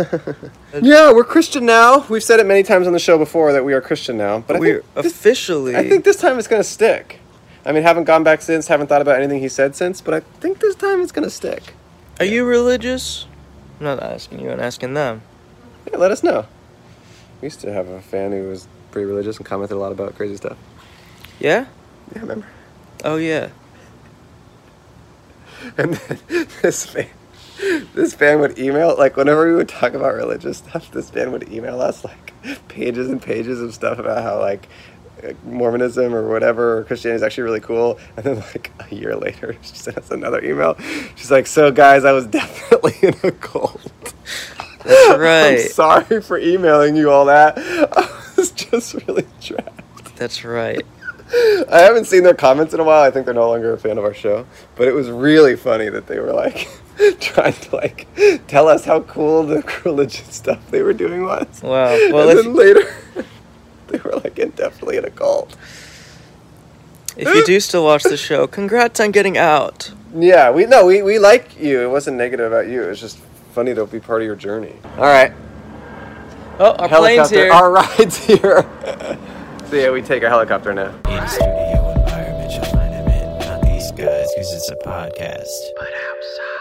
J: Yeah, we're Christian now. We've said it many times on the show before that we are Christian now, but I
K: we
J: think, this,
K: officially.
J: I think this time it's going to stick. I mean, haven't gone back since, haven't thought about anything he said since, but I think this time it's going to stick.
K: Are you religious? I'm not asking you. I'm asking them.
J: Yeah, let us know. We used to have a fan who was pretty religious and commented a lot about crazy stuff.
K: Yeah.
A: Oh,
J: Yeah, remember?
K: Oh yeah.
B: and then this man, this fan would email like whenever we would talk about religious stuff. This fan would email us like pages and pages of stuff about how like Mormonism or whatever or Christianity is actually really cool. And then like a year later, she sent us another email. She's like, "So guys, I was definitely in a cult."
A: That's
B: I'm
A: right.
B: sorry for emailing you all that. I was just really trapped.
A: That's right.
B: I haven't seen their comments in a while. I think they're no longer a fan of our show. But it was really funny that they were like trying to like tell us how cool the religion stuff they were doing was.
A: Wow. Well,
B: and
A: if,
B: then later they were like definitely in a cult.
A: if you do still watch the show, congrats on getting out.
B: Yeah, we no, we, we like you. It wasn't negative about you. It was just funny to be part of your journey. Alright.
A: Oh, our plane's
B: Helicopter.
A: here.
B: Our ride's here. so yeah, we take a helicopter now.
C: In a studio environment, you'll find him in. Not these guys, because it's a podcast.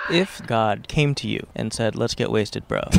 E: If God came to you and said, "Let's get wasted, bro,"